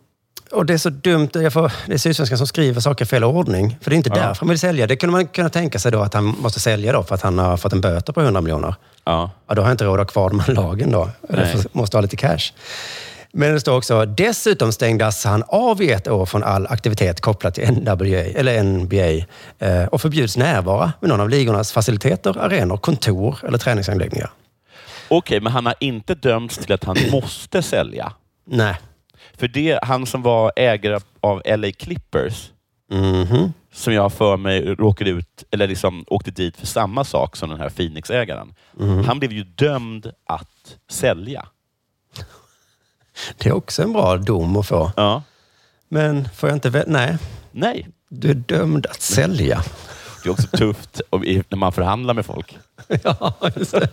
[SPEAKER 7] och det är så dumt, jag får, det är Sydsvenskan som skriver saker i fel ordning. För det är inte därför han vill sälja. Det kunde man kunna tänka sig då att han måste sälja då för att han har fått en böter på 100 miljoner.
[SPEAKER 3] Ja.
[SPEAKER 7] Ja, då har jag inte råd att ha kvar de här (laughs) lagen då. Eller
[SPEAKER 3] Nej.
[SPEAKER 7] får- måste ha lite cash. Men det står också, dessutom stängdes han av i ett år från all aktivitet kopplat till NWA, eller NBA eh, och förbjuds närvara vid någon av ligornas faciliteter, arenor, kontor eller träningsanläggningar.
[SPEAKER 3] Okej, men han har inte dömts till (clears throat) att han måste sälja.
[SPEAKER 7] Nej.
[SPEAKER 3] För det, han som var ägare av LA Clippers,
[SPEAKER 7] Mhm.
[SPEAKER 3] som jag har för mig råkade ut, eller liksom åkte dit för samma sak som den här Phoenix-ägaren. Han blev ju dömd att sälja.
[SPEAKER 7] Det är också en bra dom att få.
[SPEAKER 3] Ja.
[SPEAKER 7] Men får jag inte... vä- Nej,
[SPEAKER 3] Nej.
[SPEAKER 7] du är dömd att sälja.
[SPEAKER 3] Det är också tufft om- i- när man förhandlar med folk.
[SPEAKER 7] (laughs) ja, just det.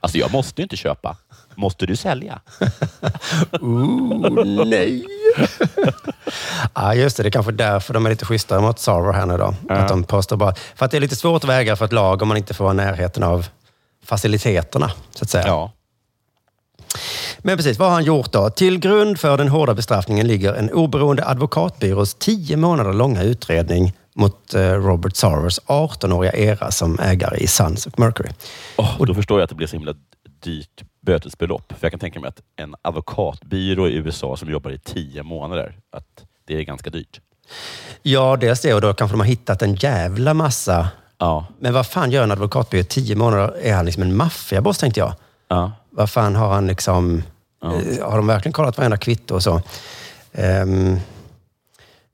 [SPEAKER 3] Alltså, jag måste ju inte köpa. Måste du sälja?
[SPEAKER 7] Ooh, nej. (laughs) ja, just det. Det är kanske därför de är lite schysstare mot Sarver här nu då. Att de påstår bara... För att det är lite svårt att väga för ett lag om man inte får vara i närheten av faciliteterna, så att säga.
[SPEAKER 3] Ja.
[SPEAKER 7] Men precis, vad har han gjort då? Till grund för den hårda bestraffningen ligger en oberoende advokatbyrås tio månader långa utredning mot eh, Robert Sarvers 18-åriga era som ägare i Suns och Mercury.
[SPEAKER 3] Och då förstår jag att det blir så himla dyrt bötesbelopp. För jag kan tänka mig att en advokatbyrå i USA som jobbar i tio månader, att det är ganska dyrt.
[SPEAKER 7] Ja, dels det och då kanske de har hittat en jävla massa.
[SPEAKER 3] Ja.
[SPEAKER 7] Men vad fan gör en advokatbyrå i tio månader? Är han liksom en maffiaboss, tänkte jag.
[SPEAKER 3] ja.
[SPEAKER 7] Vad fan har han liksom... eh, Har de verkligen kollat varenda kvitto och så? Ehm,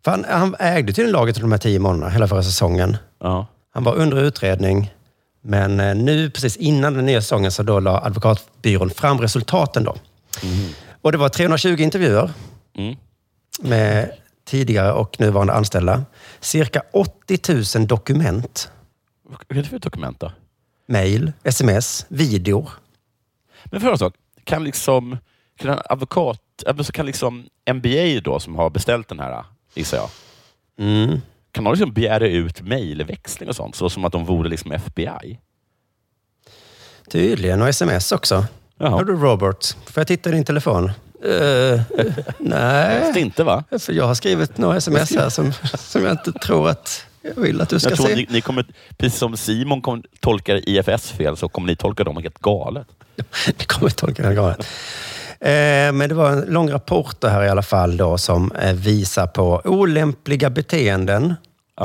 [SPEAKER 7] för han, han ägde tydligen laget under de här tio månaderna, hela förra säsongen.
[SPEAKER 3] ja.
[SPEAKER 7] Han var under utredning, men eh, nu precis innan den nya säsongen så då la advokatbyrån fram resultaten. Då. Och det var 320 intervjuer
[SPEAKER 3] Mm.
[SPEAKER 7] med tidigare och nuvarande anställda. Cirka 80 000 dokument,
[SPEAKER 3] Vad är det för dokument då?
[SPEAKER 7] mejl, sms, videor.
[SPEAKER 3] Men för en sak, kan liksom kan en advokat, äh, men så kan liksom NBA då som har beställt den här, gissar jag, kan de liksom begära ut mejlväxling och sånt, så som att de vore liksom FBI?
[SPEAKER 7] Tydligen, och sms också.
[SPEAKER 3] Jaha.
[SPEAKER 7] Hör du Robert, får jag titta i din telefon? Eh,
[SPEAKER 3] Det är
[SPEAKER 7] nej,
[SPEAKER 3] inte va?
[SPEAKER 7] för jag har skrivit några sms här som, som jag inte tror att jag vill att du ska
[SPEAKER 3] Jag tror att
[SPEAKER 7] se.
[SPEAKER 3] ni, ni kommer, precis som Simon kom, tolkar IFS fel, så kommer ni tolka dem helt galet.
[SPEAKER 7] Det kommer inte tolka den galet. Eh, Men det var en lång rapport det här i alla fall då, som eh, visar på olämpliga beteenden
[SPEAKER 3] (laughs)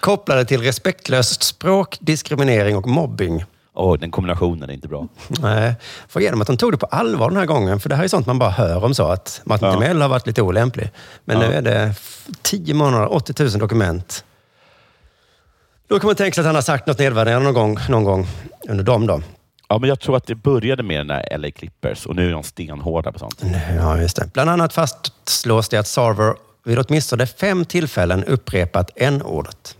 [SPEAKER 7] kopplade till respektlöst språk, diskriminering och mobbing.
[SPEAKER 3] Och den kombinationen är inte bra.
[SPEAKER 7] Nej, får igenom att de tog det på allvar den här gången. För det här är sånt man bara hör om så, att Martin
[SPEAKER 3] Ja.
[SPEAKER 7] Timell har varit lite olämplig. Men nu är det f- 10 månader, 80 000 dokument. Då kan man tänka sig att han har sagt något nedvärderande någon gång, någon gång under dem då.
[SPEAKER 3] Ja, men jag tror att det började med den där LA Clippers och nu är de stenhårda på sånt.
[SPEAKER 7] Ja, just det. Bland annat fastslås det att Sarver vid åtminstone fem tillfällen upprepat en ordet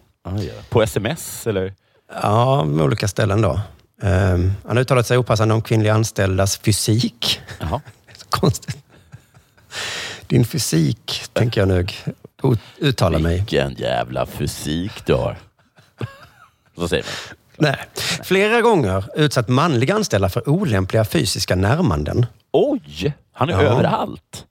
[SPEAKER 3] På sms eller?
[SPEAKER 7] Ja, med olika ställen då. Ehm, han har uttalat sig opassande om kvinnliga anställdas fysik.
[SPEAKER 3] Jaha.
[SPEAKER 7] Så konstigt. Din fysik, tänker jag nog o- uttala mig.
[SPEAKER 3] Vilken jävla fysik du har. Så säger man.
[SPEAKER 7] Nej. Flera gånger utsatt manliga anställda för olämpliga fysiska närmanden.
[SPEAKER 3] Oj! Han är
[SPEAKER 7] Ja.
[SPEAKER 3] överallt.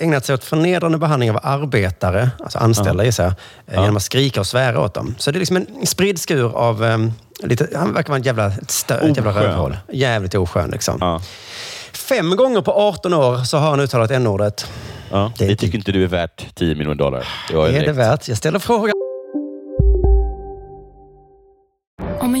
[SPEAKER 7] Ägnat sig åt förnedrande behandling av arbetare, alltså anställda gissar jag, eh, genom att skrika och svära åt dem. Så det är liksom en spridd skur av eh, Lite, han verkar vara en jävla, ett stö, ett jävla
[SPEAKER 3] Oskön.
[SPEAKER 7] rövhål. Jävligt oskön liksom.
[SPEAKER 3] Ja.
[SPEAKER 7] Fem gånger på 18 år så har han uttalat n-ordet.
[SPEAKER 3] Ja.
[SPEAKER 7] Det är
[SPEAKER 3] Det
[SPEAKER 7] typ-
[SPEAKER 3] tycker inte du är värt 10 miljoner dollar. Det var ju
[SPEAKER 7] Är det
[SPEAKER 3] direkt.
[SPEAKER 7] värt? Jag ställer frågan.
[SPEAKER 5] Om en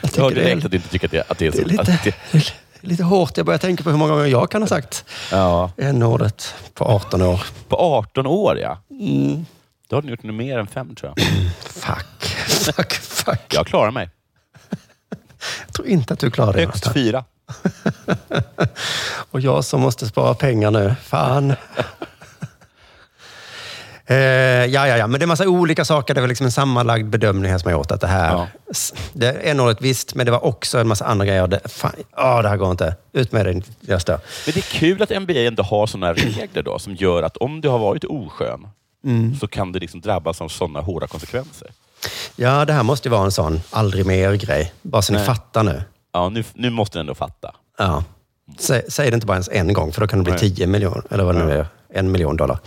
[SPEAKER 7] Jag
[SPEAKER 3] Jag
[SPEAKER 7] tycker
[SPEAKER 3] hörde
[SPEAKER 7] det, är,
[SPEAKER 3] direkt att du inte tycker att det, att det är
[SPEAKER 7] det,
[SPEAKER 3] så.
[SPEAKER 7] är lite,
[SPEAKER 3] Att det,
[SPEAKER 7] det är lite hårt. Jag börjar tänka på hur många gånger jag kan ha sagt
[SPEAKER 3] ja.
[SPEAKER 7] n-ordet på 18 år.
[SPEAKER 3] På 18 år, ja.
[SPEAKER 7] Mm.
[SPEAKER 3] Då har du gjort nog mer än fem, tror jag.
[SPEAKER 7] Fuck, (laughs) fuck, fuck.
[SPEAKER 3] Jag klarar mig.
[SPEAKER 7] Jag tror inte att du klarar det.
[SPEAKER 3] Högst
[SPEAKER 7] Jonathan.
[SPEAKER 3] fyra.
[SPEAKER 7] Och jag som måste spara pengar nu. Fan. (laughs) Eh, ja, ja, ja, men det är massa olika saker. Det var liksom en sammanlagd bedömning här som jag gjort. Att det här...
[SPEAKER 3] Ja.
[SPEAKER 7] s- Det är en visst, men det var också en massa andra grejer. Det, fan, ah, det här går inte. Ut med dig, jag stör.
[SPEAKER 3] Men det är kul att NBA ändå har sådana regler då, som gör att om du har varit oskön
[SPEAKER 7] Mm.
[SPEAKER 3] så kan det liksom drabbas av sådana hårda konsekvenser.
[SPEAKER 7] Ja, det här måste ju vara en sån aldrig mer-grej. Bara så ni
[SPEAKER 3] Nej.
[SPEAKER 7] fattar nu.
[SPEAKER 3] Ja, nu, nu måste du ändå fatta.
[SPEAKER 7] Ja. Säg, säg det inte bara ens en gång, för då kan det bli 10 miljoner, eller vad det nu är, en miljon dollar.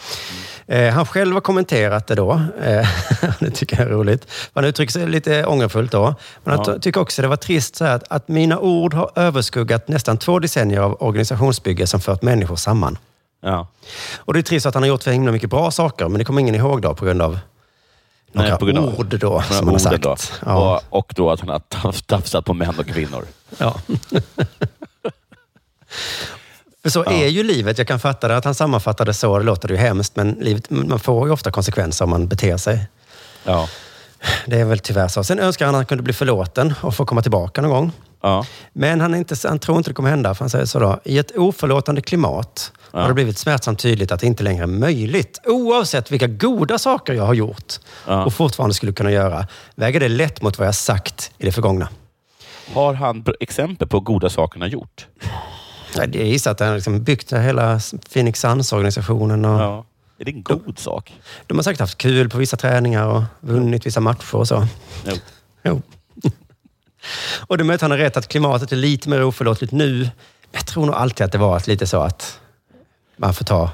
[SPEAKER 7] Eh, han själv har kommenterat det då. Eh, (laughs) det tycker jag är roligt. Han uttrycker sig lite ångerfullt då. Men han
[SPEAKER 3] Ja.
[SPEAKER 7] ty- tycker också det var trist så här att, att mina ord har överskuggat nästan två decennier av organisationsbygge som fört människor samman.
[SPEAKER 3] Ja.
[SPEAKER 7] Och det är trist att han har gjort så himla mycket bra saker, men det kommer ingen ihåg då på grund av några ord då,
[SPEAKER 3] några
[SPEAKER 7] som han har
[SPEAKER 3] orden
[SPEAKER 7] sagt.
[SPEAKER 3] Då.
[SPEAKER 7] Ja.
[SPEAKER 3] Och, och då att han har taf- tafsat på män och kvinnor.
[SPEAKER 7] Ja. (laughs) För så är ju livet. Jag kan fatta det att han sammanfattar det så. Det låter ju hemskt, men livet, man får ju ofta konsekvenser om man beter sig.
[SPEAKER 3] Ja.
[SPEAKER 7] Det är väl tyvärr så. Sen önskar han att han kunde bli förlåten och få komma tillbaka någon gång.
[SPEAKER 3] Ja.
[SPEAKER 7] Men han, är inte, han tror inte det kommer hända, för han säger så då. I ett oförlåtande klimat har det blivit smärtsamt tydligt att det inte längre är möjligt. Oavsett vilka goda saker jag har gjort och fortfarande skulle kunna göra, väger det lätt mot vad jag sagt i det förgångna.
[SPEAKER 3] Har han br- exempel på goda saker han har gjort?
[SPEAKER 7] Nej, det är gissat att han har liksom byggt hela Phoenix Suns-organisationen. Och
[SPEAKER 3] Ja. Är det en god sak?
[SPEAKER 7] De har säkert haft kul på vissa träningar och vunnit vissa matcher och så.
[SPEAKER 3] Jo.
[SPEAKER 7] Jo. (laughs) och det med att han har rätt att klimatet är lite mer oförlåtligt nu. Men jag tror nog alltid att det var att lite så att man får ta...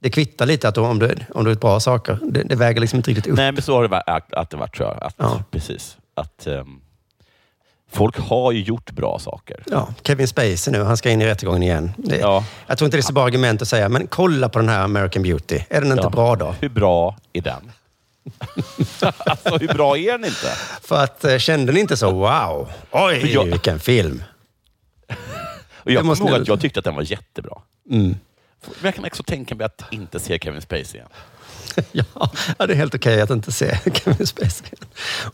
[SPEAKER 7] Det kvittar lite att om du, om du har gjort bra saker. Det, det väger liksom inte riktigt upp.
[SPEAKER 3] Nej, men så har det varit, att det varit tror jag. Att,
[SPEAKER 7] Ja.
[SPEAKER 3] Precis. Att, ehm, folk har ju gjort bra saker.
[SPEAKER 7] Ja, Kevin Spacey nu, han ska in i rättegången igen. Det,
[SPEAKER 3] Ja.
[SPEAKER 7] Jag tror inte det är så bra argument att säga, men kolla på den här American Beauty. Är den inte
[SPEAKER 3] Ja.
[SPEAKER 7] bra då?
[SPEAKER 3] Hur bra är den? (laughs) alltså, hur bra är den inte?
[SPEAKER 7] För att eh, kände ni inte så, wow, oj,
[SPEAKER 3] Men jag-
[SPEAKER 7] vilken film.
[SPEAKER 3] Och jag
[SPEAKER 7] Det måste
[SPEAKER 3] kommer ihåg
[SPEAKER 7] ni- Mm.
[SPEAKER 3] att jag tyckte att den var jättebra. Men jag kan också tänka mig att inte se Kevin Spacey igen.
[SPEAKER 7] (laughs) ja, ja, det är helt okej att inte se (laughs) Kevin Spacey.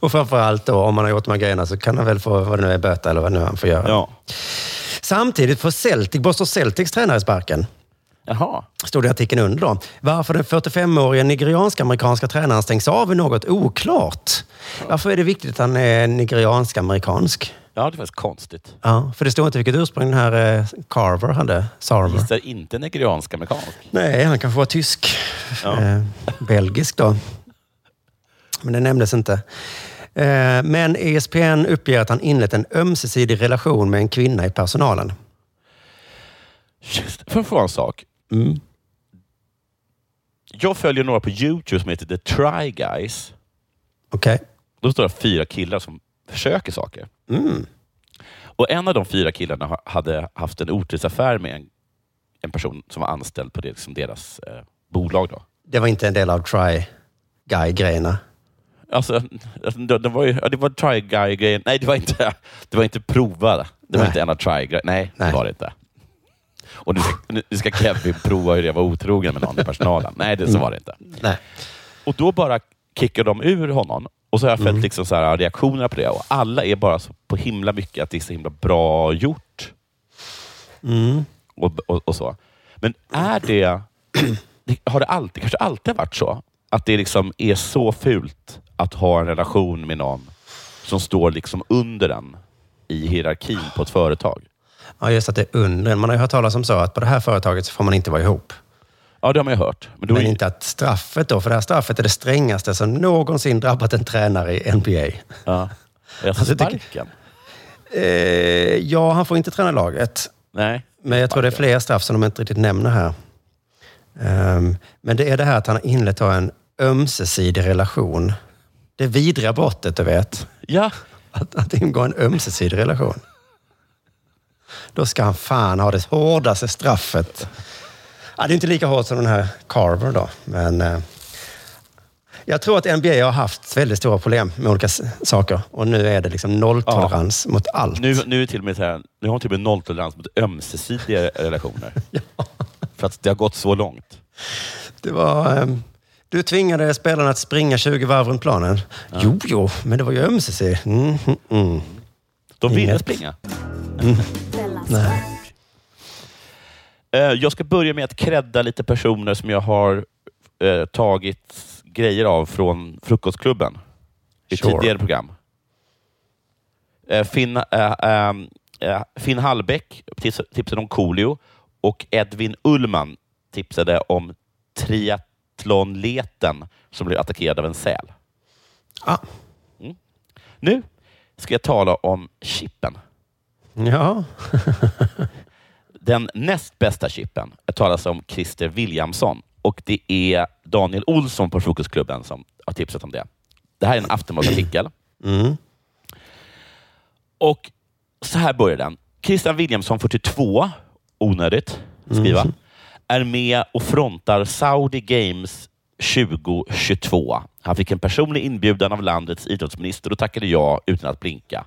[SPEAKER 7] Och framförallt då, om man har gjort de här grejerna så kan han väl få, vad det nu är, böta eller vad nu han får göra.
[SPEAKER 3] Ja.
[SPEAKER 7] Samtidigt får Celtic, Boston Celtics tränare sparken.
[SPEAKER 3] Jaha.
[SPEAKER 7] Stod det i artikeln under då. Varför den 45-åriga nigeriansk-amerikanska tränaren stängs av är något oklart. Varför är det viktigt att han är nigeriansk-amerikansk?
[SPEAKER 3] Ja, det var faktiskt konstigt.
[SPEAKER 7] Ja, för det står inte vilket ursprung den här eh, Carver hade. Sarver.
[SPEAKER 3] Gissar inte nigeriansk amerikansk.
[SPEAKER 7] Nej, han kanske var tysk. Eh, belgisk då. Men det nämndes inte. Eh, men ESPN uppger att han inlett en ömsesidig relation med en kvinna i personalen.
[SPEAKER 3] Just, får jag fråga en sak?
[SPEAKER 7] Mm.
[SPEAKER 3] Jag följer några på YouTube som heter The Try Guys.
[SPEAKER 7] Okej.
[SPEAKER 3] De står det fyra killar som försöker saker.
[SPEAKER 7] Mm.
[SPEAKER 3] Och En av de fyra killarna ha- hade haft en otursaffär med en, en person som var anställd på det, liksom deras eh, bolag. Då.
[SPEAKER 7] Det var inte en del av try guy-grejerna.
[SPEAKER 3] Alltså, det, det var ju, ja, det var try guy-grejen. Nej, det var inte, det var inte prova. Det var
[SPEAKER 7] Nej.
[SPEAKER 3] inte ena try guy. Nej,
[SPEAKER 7] Nej.
[SPEAKER 3] det var det inte. Och nu, nu- nu ska Kevin prova hur det var otrogen med någon i personalen. Nej, det, så var det inte.
[SPEAKER 7] Nej.
[SPEAKER 3] Och då bara kickar de ur honom. Och så har jag
[SPEAKER 7] Mm.
[SPEAKER 3] följt liksom så här, reaktionerna på det. Och alla är bara så på himla mycket att det är så himla bra gjort.
[SPEAKER 7] Mm.
[SPEAKER 3] Och, och, och så. Men är det... det- Har det alltid, kanske alltid varit så? Att det liksom är så fult att ha en relation med någon som står liksom under en i hierarkin på ett företag?
[SPEAKER 7] Ja, just att det är undren. Man har ju hört talas om så att på det här företaget så får man inte vara ihop.
[SPEAKER 3] Ja, det har man ju hört. Men då är
[SPEAKER 7] Men inte att straffet då, för det här straffet är det strängaste som någonsin drabbat en tränare i NBA.
[SPEAKER 3] Ja. Alltså,
[SPEAKER 7] Alltså, jag
[SPEAKER 3] sparken?
[SPEAKER 7] tycker- Eh, ja, han får inte träna laget.
[SPEAKER 3] Nej.
[SPEAKER 7] Men jag tror det är fler straff som de inte riktigt nämner här. Ehm, men det är det här att han har inlett ha en ömsesidig relation. Det vidriga brottet, du vet.
[SPEAKER 3] Ja.
[SPEAKER 7] Att, att ingå en ömsesidig relation. Då ska han fan ha det hårdaste straffet. Ja, det är inte lika hårt som den här Carver då, men... Eh, jag tror att NBA har haft väldigt stora problem med olika s- saker. Och nu är det liksom nolltolerans mot allt.
[SPEAKER 3] Nu, nu, är till och med så här, nu har hon till och med nolltolerans mot ömsesidiga relationer. För att det har gått så långt.
[SPEAKER 7] Det var... ehm, Du tvingade spelarna att springa 20 varv runt planen. Jo, jo, men det var ju ömsesidigt. Mm, mm, mm.
[SPEAKER 3] De ville
[SPEAKER 7] Inget.
[SPEAKER 3] springa.
[SPEAKER 9] Della
[SPEAKER 7] Nej.
[SPEAKER 3] Eh, Jag ska börja med att credda lite personer som jag har eh, tagit grejer av från Frukostklubben i
[SPEAKER 7] Sure.
[SPEAKER 3] tidigare program. Eh, Finn, eh, eh, eh, Finn Hallbäck tips- tipsade om Coolio och Edvin Ullman tipsade om triathlonleten som blev attackerad av en säl.
[SPEAKER 7] Ah,
[SPEAKER 3] Nu ska jag tala om chippen.
[SPEAKER 7] ja.
[SPEAKER 3] Den näst bästa chippen talas om Christer Williamson och det är Daniel Olsson på Fokusklubben som har tipsat om det. Det här är en Aftonbladet-artikel.
[SPEAKER 7] Mm.
[SPEAKER 3] Och så här börjar den. Christian Williamson, 42, onödigt att skriva, är med och frontar Saudi Games 2022. Han fick en personlig inbjudan av landets idrottsminister och tackade ja utan att blinka.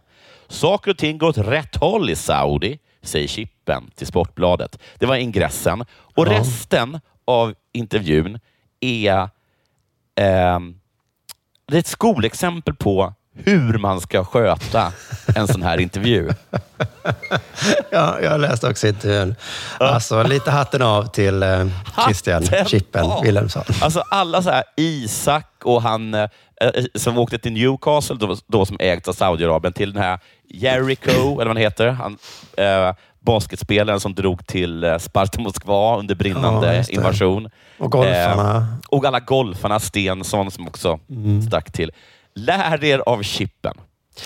[SPEAKER 3] Saker och ting går åt rätt håll i Saudi, säger Chippen till Sportbladet. Det var ingressen. Och resten av intervjun är ehm, det är ett skolexempel på hur man ska sköta en sån här intervju.
[SPEAKER 7] ja, jag läste också intervjun. Alltså, lite hatten av till eh, (laughs) Christian
[SPEAKER 3] Hatten
[SPEAKER 7] Chippen
[SPEAKER 3] av.
[SPEAKER 7] Wilhelmsson.
[SPEAKER 3] Alltså alla så här, Isak och han eh, eh, som åkte till Newcastle, då, då som ägts av Saudiarabien, till den här Jericho, eller vad han heter, han, eh, basketspelaren som drog till eh, Sparta Moskva under brinnande
[SPEAKER 7] Ja, just det.
[SPEAKER 3] invasion. Eh,
[SPEAKER 7] Och golfarna. Mm.
[SPEAKER 3] och alla golfarna, Stensson som också stack till. Lär er av chippen.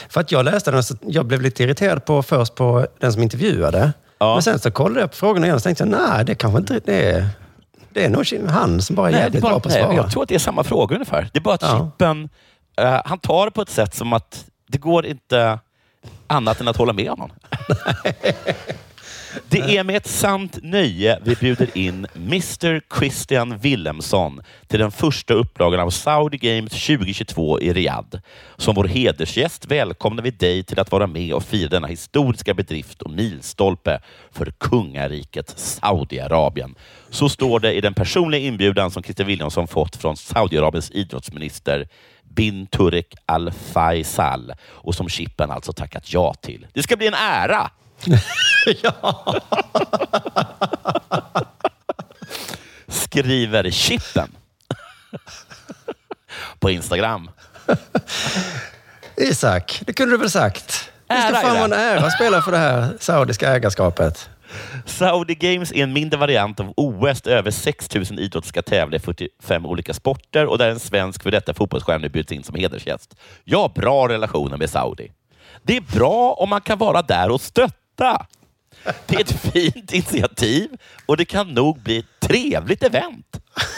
[SPEAKER 7] För att jag läste den så jag blev lite irriterad på, först på den som intervjuade.
[SPEAKER 3] Ja.
[SPEAKER 7] Men sen så kollade jag på frågorna igen och så tänkte jag, nej, det kanske inte det är... Det är nog han som bara är
[SPEAKER 3] Nej, det är
[SPEAKER 7] jävligt
[SPEAKER 3] bara,
[SPEAKER 7] bra på att svara.
[SPEAKER 3] nej, jag tror att det är samma fråga ungefär. Det är bara att
[SPEAKER 7] Ja.
[SPEAKER 3] Chippen, eh, han tar det på ett sätt som att det går inte annat än att hålla med honom. det är med ett sant nöje vi bjuder in Mr Christian Willemsson till den första upplagan av Saudi Games 2022 i Riyadh. Som vår hedersgäst välkomnar vi dig till att vara med och fira denna historiska bedrift och milstolpe för kungariket Saudiarabien. Så står det i den personliga inbjudan som Christer Williamson fått från Saudiarabiens idrottsminister bin Turek Al Faisal och som Chippen alltså tackat ja till. Det ska bli en ära! skriver Chippen på Instagram.
[SPEAKER 7] Isak, det kunde du väl sagt? Det ska
[SPEAKER 3] Ära är
[SPEAKER 7] fan
[SPEAKER 3] det.
[SPEAKER 7] vara en ära att spela för det här saudiska ägarskapet.
[SPEAKER 3] Saudi Games är en mindre variant av OS där över 6 000 idrotter ska tävla i 45 olika sporter och där en svensk för detta fotbollsstjärna nu bjuds in som hedersgäst. Jag har bra relationer med Saudi. Det är bra om man kan vara där och stötta. Det är ett fint initiativ och det kan nog bli ett trevligt event.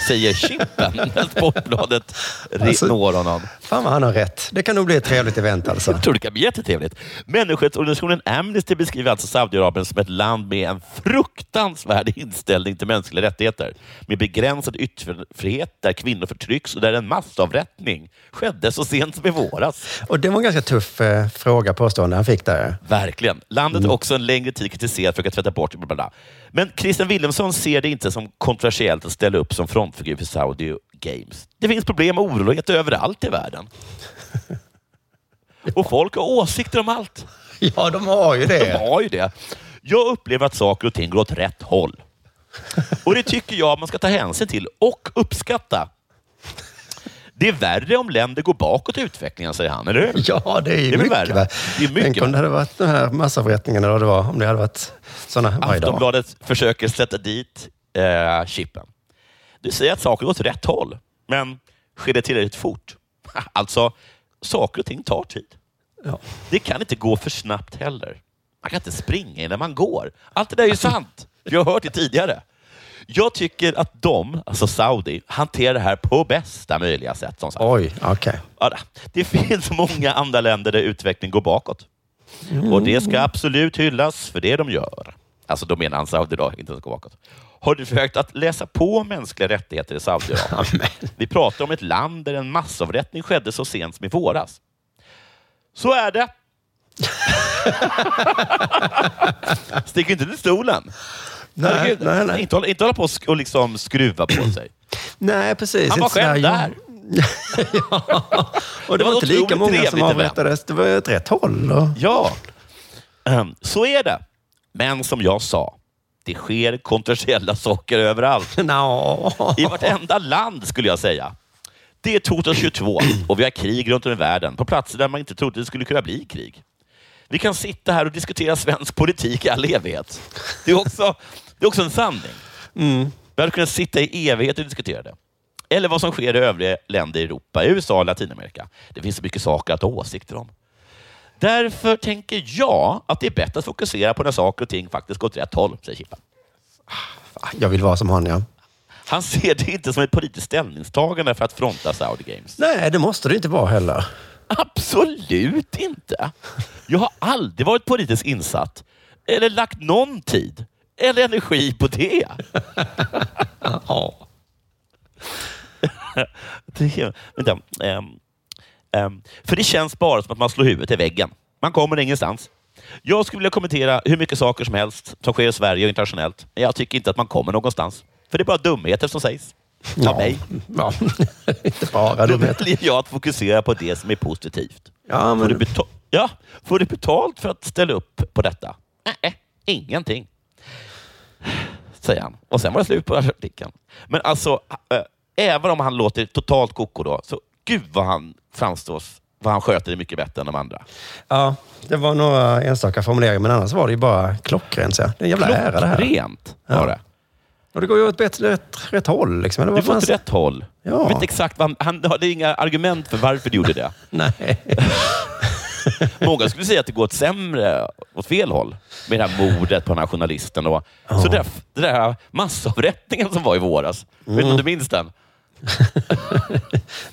[SPEAKER 3] säger Chippen när Sportbladet alltså, når honom.
[SPEAKER 7] Fan vad han har rätt. Det kan nog bli ett trevligt event alltså.
[SPEAKER 3] Jag tror det kan bli jättetrevligt. Människorättsorganisationen Amnesty beskriver alltså Saudiarabien som ett land med en fruktansvärd inställning till mänskliga rättigheter. Med begränsad yttrandefrihet, där kvinnor förtrycks och där en massavrättning skedde så sent som i våras.
[SPEAKER 7] Och det var en ganska tuff eh, fråga, påstående han fick där. (laughs)
[SPEAKER 3] Verkligen. Landet har mm. också en längre tid kritiserat för att tvätta bort... Bla, bla, bla. Men Christian Wilhelmsson ser det inte som kontroversiellt att ställa upp som frontfigur för Saudi Games. Det finns problem och oroligheter överallt i världen. Och folk har åsikter om allt.
[SPEAKER 7] Ja, de har ju det.
[SPEAKER 3] De har ju det. Jag upplever att saker och ting går åt rätt håll. Och det tycker jag man ska ta hänsyn till och uppskatta. Det är värre om länder går bakåt i utvecklingen, säger han. Eller hur?
[SPEAKER 7] Ja, det är ju det är mycket värre. värre.
[SPEAKER 3] Det är mycket
[SPEAKER 7] Tänk om det hade varit de här massavrättningarna, eller vad det var, om det hade varit sådana varje dag.
[SPEAKER 3] Aftonbladet försöker sätta dit eh, chippen. Du säger att saker går åt rätt håll, men sker det tillräckligt fort? (laughs) Alltså, saker och ting tar tid. Ja. Det kan inte gå för snabbt heller. Man kan inte springa innan man går. Allt det där är ju sant. Jag har hört det tidigare. Jag tycker att de, alltså Saudi, hanterar det här på bästa möjliga sätt. Som sagt.
[SPEAKER 7] Oj, okej.
[SPEAKER 3] Okay. Det finns många andra länder där utvecklingen går bakåt. Mm. Och det ska absolut hyllas för det de gör. Alltså, då menar han Saudi då, inte att gå bakåt. Har du försökt att läsa på om mänskliga rättigheter i Saudiarabien? Vi pratar om ett land där en massavrättning skedde så sent som i våras. Så
[SPEAKER 7] (laughs)
[SPEAKER 3] är det. Stick inte till stolen.
[SPEAKER 7] Nej, nej, nej.
[SPEAKER 3] Inte, hålla, inte hålla på och liksom skruva på sig.
[SPEAKER 7] nej, precis.
[SPEAKER 3] Han var själv (laughs) där.
[SPEAKER 7] ja. Och det, det var inte lika många som avrättades. Det var åt rätt håll. Och... (laughs)
[SPEAKER 3] Ja, Ehm, så är det. Men som jag sa, det sker kontroversiella saker överallt.
[SPEAKER 7] No.
[SPEAKER 3] (laughs) I vartenda land, skulle jag säga. Det är 2022 och vi har krig runt om i världen, på platser där man inte trodde det skulle kunna bli krig. Vi kan sitta här och diskutera svensk politik i all evighet. Det är också, det är också en sanning. Mm. Vi hade kunnat sitta i evighet och diskutera det. Eller vad som sker i övriga länder i Europa, USA och Latinamerika. Det finns så mycket saker att ha åsikter om. Därför tänker jag att det är bättre att fokusera på när saker och ting faktiskt går åt rätt håll, säger Chippa.
[SPEAKER 7] Jag vill vara som han, ja.
[SPEAKER 3] Han ser det inte som ett politiskt ställningstagande för att fronta Saudi Games.
[SPEAKER 7] Nej, det måste det inte vara heller.
[SPEAKER 3] Absolut inte! Jag har aldrig varit politiskt insatt eller lagt någon tid eller energi på det. ja. (laughs) det vänta. Um, um, för det känns bara som att man slår huvudet i väggen. Man kommer ingenstans. Jag skulle vilja kommentera hur mycket saker som helst som sker i Sverige och internationellt, men jag tycker inte att man kommer någonstans. För det är bara dumheter som sägs. Av ja. mig. (laughs)
[SPEAKER 7] Ja. inte bara
[SPEAKER 3] Då väljer jag att fokusera på det som är positivt.
[SPEAKER 7] Ja, men...
[SPEAKER 3] får, du ja, får du betalt för att ställa upp på detta? Nej, ingenting. Säger han. Och sen var det slut på artikeln. Men alltså, äh, även om han låter totalt koko då, så gud vad han framstår vad han sköter det mycket bättre än de andra.
[SPEAKER 7] Ja, det var några enstaka formuleringar, men annars var det ju bara klockrent. Ja. Det är en jävla
[SPEAKER 3] klockrent, ära
[SPEAKER 7] det här.
[SPEAKER 3] Klockrent var det.
[SPEAKER 7] Och det går ju åt rätt, rätt, rätt håll. Liksom.
[SPEAKER 3] Det
[SPEAKER 7] var
[SPEAKER 3] du fanns... åt rätt håll. Ja. Jag vet exakt vad han, han hade inga argument för varför du gjorde det. (laughs)
[SPEAKER 7] Nej.
[SPEAKER 3] Många skulle säga att det går åt sämre, åt fel håll, med det här mordet på den här journalisten. Och, oh. Så det där, det där massavrättningen som var i våras. Mm. Vet du om du minns den?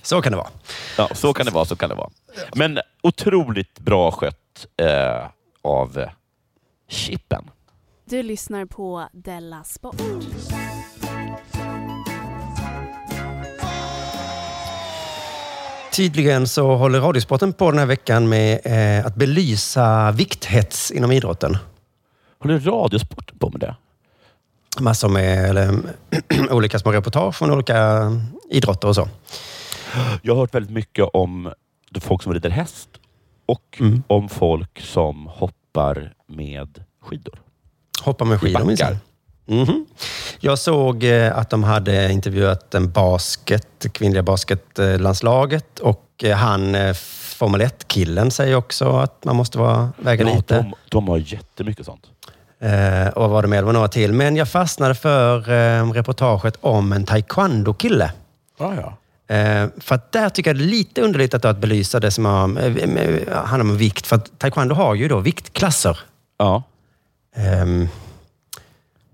[SPEAKER 7] så kan det vara.
[SPEAKER 3] Ja, så kan det vara. Så kan det vara. Men otroligt bra skött eh, av Chippen.
[SPEAKER 10] Du lyssnar på Della Sport.
[SPEAKER 7] Tydligen så håller Radiosporten på den här veckan med eh, att belysa vikthets inom idrotten.
[SPEAKER 3] Håller Radiosporten på med det?
[SPEAKER 7] Massor med eller, (clears throat) olika små reportage från olika idrotter och så.
[SPEAKER 3] Jag har hört väldigt mycket om folk som rider häst och mm. om folk som hoppar med skidor.
[SPEAKER 7] Hoppa med skidor minsann. Mm -hmm. Jag såg eh, att de hade intervjuat en basket, kvinnliga basketlandslaget och eh, han Formel 1-killen säger också att man måste vara väga ja, lite.
[SPEAKER 3] De, de har jättemycket sånt.
[SPEAKER 7] Eh, och var det med, det var några till. Men jag fastnade för eh, reportaget om en taekwondo-kille.
[SPEAKER 3] Ah, ja.
[SPEAKER 7] Eh, för att där tycker jag det är lite underligt att, att belysa det som har, eh, handlar om vikt. För att taekwondo har ju då viktklasser.
[SPEAKER 3] Ja.
[SPEAKER 7] Um, Ehm,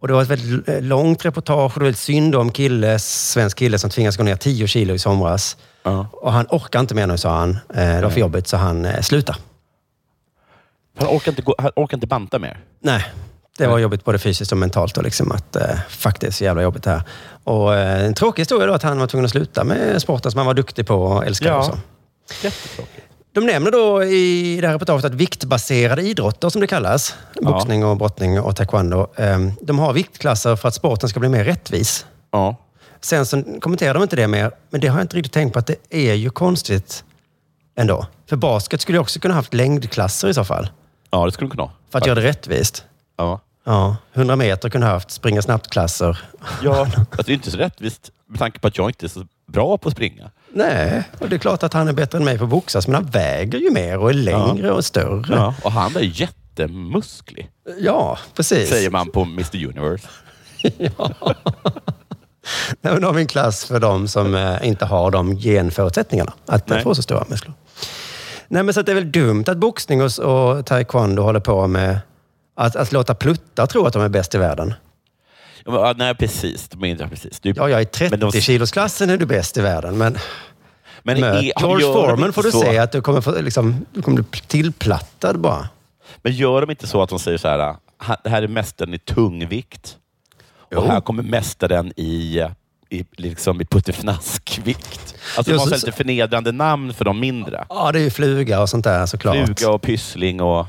[SPEAKER 7] Och det var ett väldigt l- långt reportage och det var väldigt synd om kille, svensk kille som tvingas gå ner 10 kilo i somras. Och han orkar inte mer nu, sa han. Eh, Det var för jobbigt, så han eh, slutar.
[SPEAKER 3] Han orkar inte, gå, han orkar inte banta mer.
[SPEAKER 7] Nej, det var jobbigt både fysiskt och mentalt. Och liksom att, eh, fuck, det är så jävla jobbigt det här. Och, eh, en tråkig historia då att han var tvungen att sluta med sporten som han var duktig på och älskade.
[SPEAKER 3] Ja.
[SPEAKER 7] Och så. De nämner då i det här reportaget att viktbaserade idrotter, som det kallas, boxning, och brottning och taekwondo, eh, de har viktklasser för att sporten ska bli mer rättvis.
[SPEAKER 3] Ja.
[SPEAKER 7] Sen så kommenterar de inte det mer, men det har jag inte riktigt tänkt på att det är ju konstigt ändå. För basket skulle ju också kunna haft längdklasser i så fall.
[SPEAKER 3] Ja, det skulle de kunna ha.
[SPEAKER 7] För att göra det rättvist.
[SPEAKER 3] Ja.
[SPEAKER 7] Ja, 100 meter kunde haft springa snabbt-klasser.
[SPEAKER 3] Ja. Alltså, det är inte så rättvist med tanke på att jag inte är så bra på att springa.
[SPEAKER 7] Nej, och det är klart att han är bättre än mig på att boxas, men han väger ju mer och är längre och större.
[SPEAKER 3] Ja. Och han var ju jättemusklig,
[SPEAKER 7] Ja, precis.
[SPEAKER 3] säger man på Mr Universe.
[SPEAKER 7] Nej, men då har vi en klass för de som eh, inte har de genförutsättningarna att eh,
[SPEAKER 3] Nej.
[SPEAKER 7] få så stora muskler. Nej, men så att det är väl dumt att boxning och, och taekwondo håller på med att, att låta pluttar tro att de är bäst i världen.
[SPEAKER 3] Ja, men, ja, nej, precis. De är inte precis. Det är-
[SPEAKER 7] Ja, jag är i
[SPEAKER 3] Men de-
[SPEAKER 7] 30-kilosklassen är du bäst i världen, men,
[SPEAKER 3] Men
[SPEAKER 7] möt
[SPEAKER 3] är-
[SPEAKER 7] George
[SPEAKER 3] gör de
[SPEAKER 7] Foreman
[SPEAKER 3] inte
[SPEAKER 7] får du
[SPEAKER 3] så?
[SPEAKER 7] se att du kommer, få, liksom, du kommer bli tillplattad bara.
[SPEAKER 3] Men gör de inte så att de säger så här, "Ha- det här är mästaren i tungvikt
[SPEAKER 7] Jo.
[SPEAKER 3] och här kommer mästaren i, i, liksom i puttifnaskvikt. Alltså
[SPEAKER 7] Ja,
[SPEAKER 3] de har
[SPEAKER 7] så-
[SPEAKER 3] så här lite förnedrande namn för de mindre.
[SPEAKER 7] Ja, det är ju fluga och sånt där såklart.
[SPEAKER 3] Fluga och pyssling och...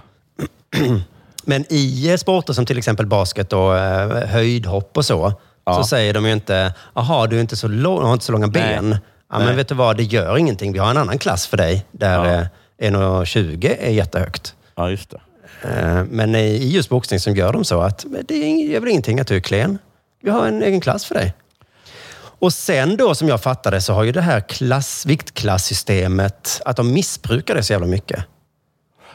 [SPEAKER 7] Men i eh, sporter som till exempel basket och eh, höjdhopp och så, så säger de ju inte, jaha, du är inte så lång, har inte så långa ben. Ja, men
[SPEAKER 3] Nej.
[SPEAKER 7] vet du vad, det gör ingenting. Vi har en annan klass för dig där
[SPEAKER 3] Ja.
[SPEAKER 7] eh, 1,20 är jättehögt.
[SPEAKER 3] Ja, just det.
[SPEAKER 7] Eh, Men i i just boxning så gör de så att "Men det är ing- gör väl ingenting att du är klen. Vi har en egen klass för dig. Och sen då, som jag fattade, så har ju det här klass, viktklassystemet, att de missbrukar det så jävla mycket.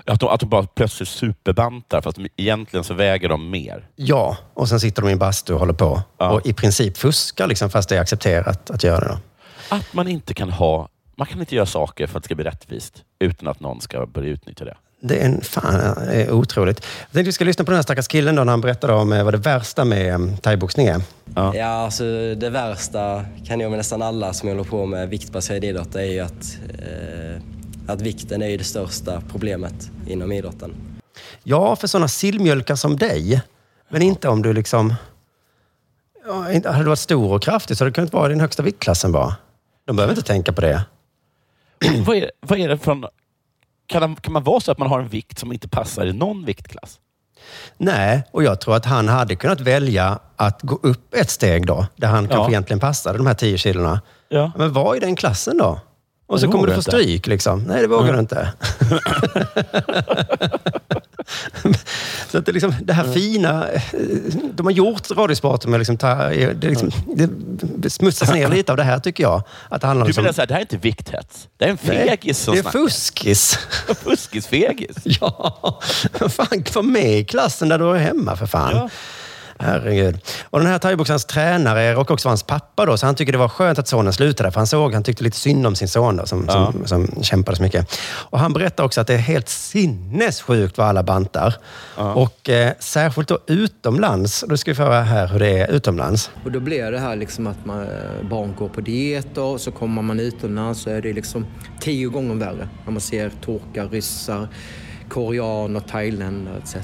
[SPEAKER 3] Att de, att de bara plötsligt superbantar fast de, egentligen så väger de mer.
[SPEAKER 7] Ja, och sen sitter de i en bastu och håller på. Och i princip fuskar, liksom, fast det är accepterat att göra det. Då.
[SPEAKER 3] Att man inte kan ha... Man kan inte göra saker för att det ska bli rättvist utan att någon ska börja utnyttja det.
[SPEAKER 7] Det är en, fan, det är otroligt. Jag tänkte vi ska lyssna på den här stackars killen då, när han berättade om eh, vad det värsta med eh, thaiboxning är.
[SPEAKER 11] Ja, alltså det värsta kan jag med nästan alla som håller på med viktbaserad idrott är ju att, eh, att vikten är ju det största problemet inom idrotten.
[SPEAKER 7] Ja, för sådana sillmjölkar som dig. Men inte om du liksom... Ja, inte- hade du varit stor och kraftig så hade du kunnat vara i den högsta viktklassen bara. De behöver inte tänka på det.
[SPEAKER 3] vad, är, vad är det från... Kan, kan man vara så att man har en vikt som inte passar i någon viktklass?
[SPEAKER 7] Nej, och jag tror att han hade kunnat välja att gå upp ett steg då, där han kanske egentligen passade de här 10 kilorna.
[SPEAKER 3] Ja.
[SPEAKER 7] Men var i den klassen då? Och så
[SPEAKER 3] Det
[SPEAKER 7] kommer du
[SPEAKER 3] vågar
[SPEAKER 7] få
[SPEAKER 3] jag inte.
[SPEAKER 7] stryk liksom. Nej, det vågar du
[SPEAKER 3] (laughs)
[SPEAKER 7] inte. så att det, liksom, det här fina... eh, De har gjort radiosporten med liksom, ta- det, liksom, det smutsas ner lite av det här tycker jag. Att det handlar
[SPEAKER 3] Du
[SPEAKER 7] liksom,
[SPEAKER 3] menar så här, det här är inte vikthets. Det är en fegis som
[SPEAKER 7] Det är
[SPEAKER 3] snackar.
[SPEAKER 7] fuskis.
[SPEAKER 3] Fuskis-fegis. (laughs)
[SPEAKER 7] Ja, fan, var med i klassen där du är hemma för fan. Herregud. Och den här thaiboxarens tränare råkar också vara hans pappa då, så han tycker det var skönt att sonen slutade, för han såg, han tyckte lite synd om sin son då, som, som, som kämpade så mycket. Och han berättar också att det är helt sinnessjukt vad alla bantar. Och eh, särskilt då utomlands, då ska vi få höra här hur det är utomlands.
[SPEAKER 12] Och då blir det här liksom att man, eh, barn går på dieter och så kommer man utomlands så är det liksom tio gånger värre. När man ser turkar, ryssar, koreaner, thailändare etc.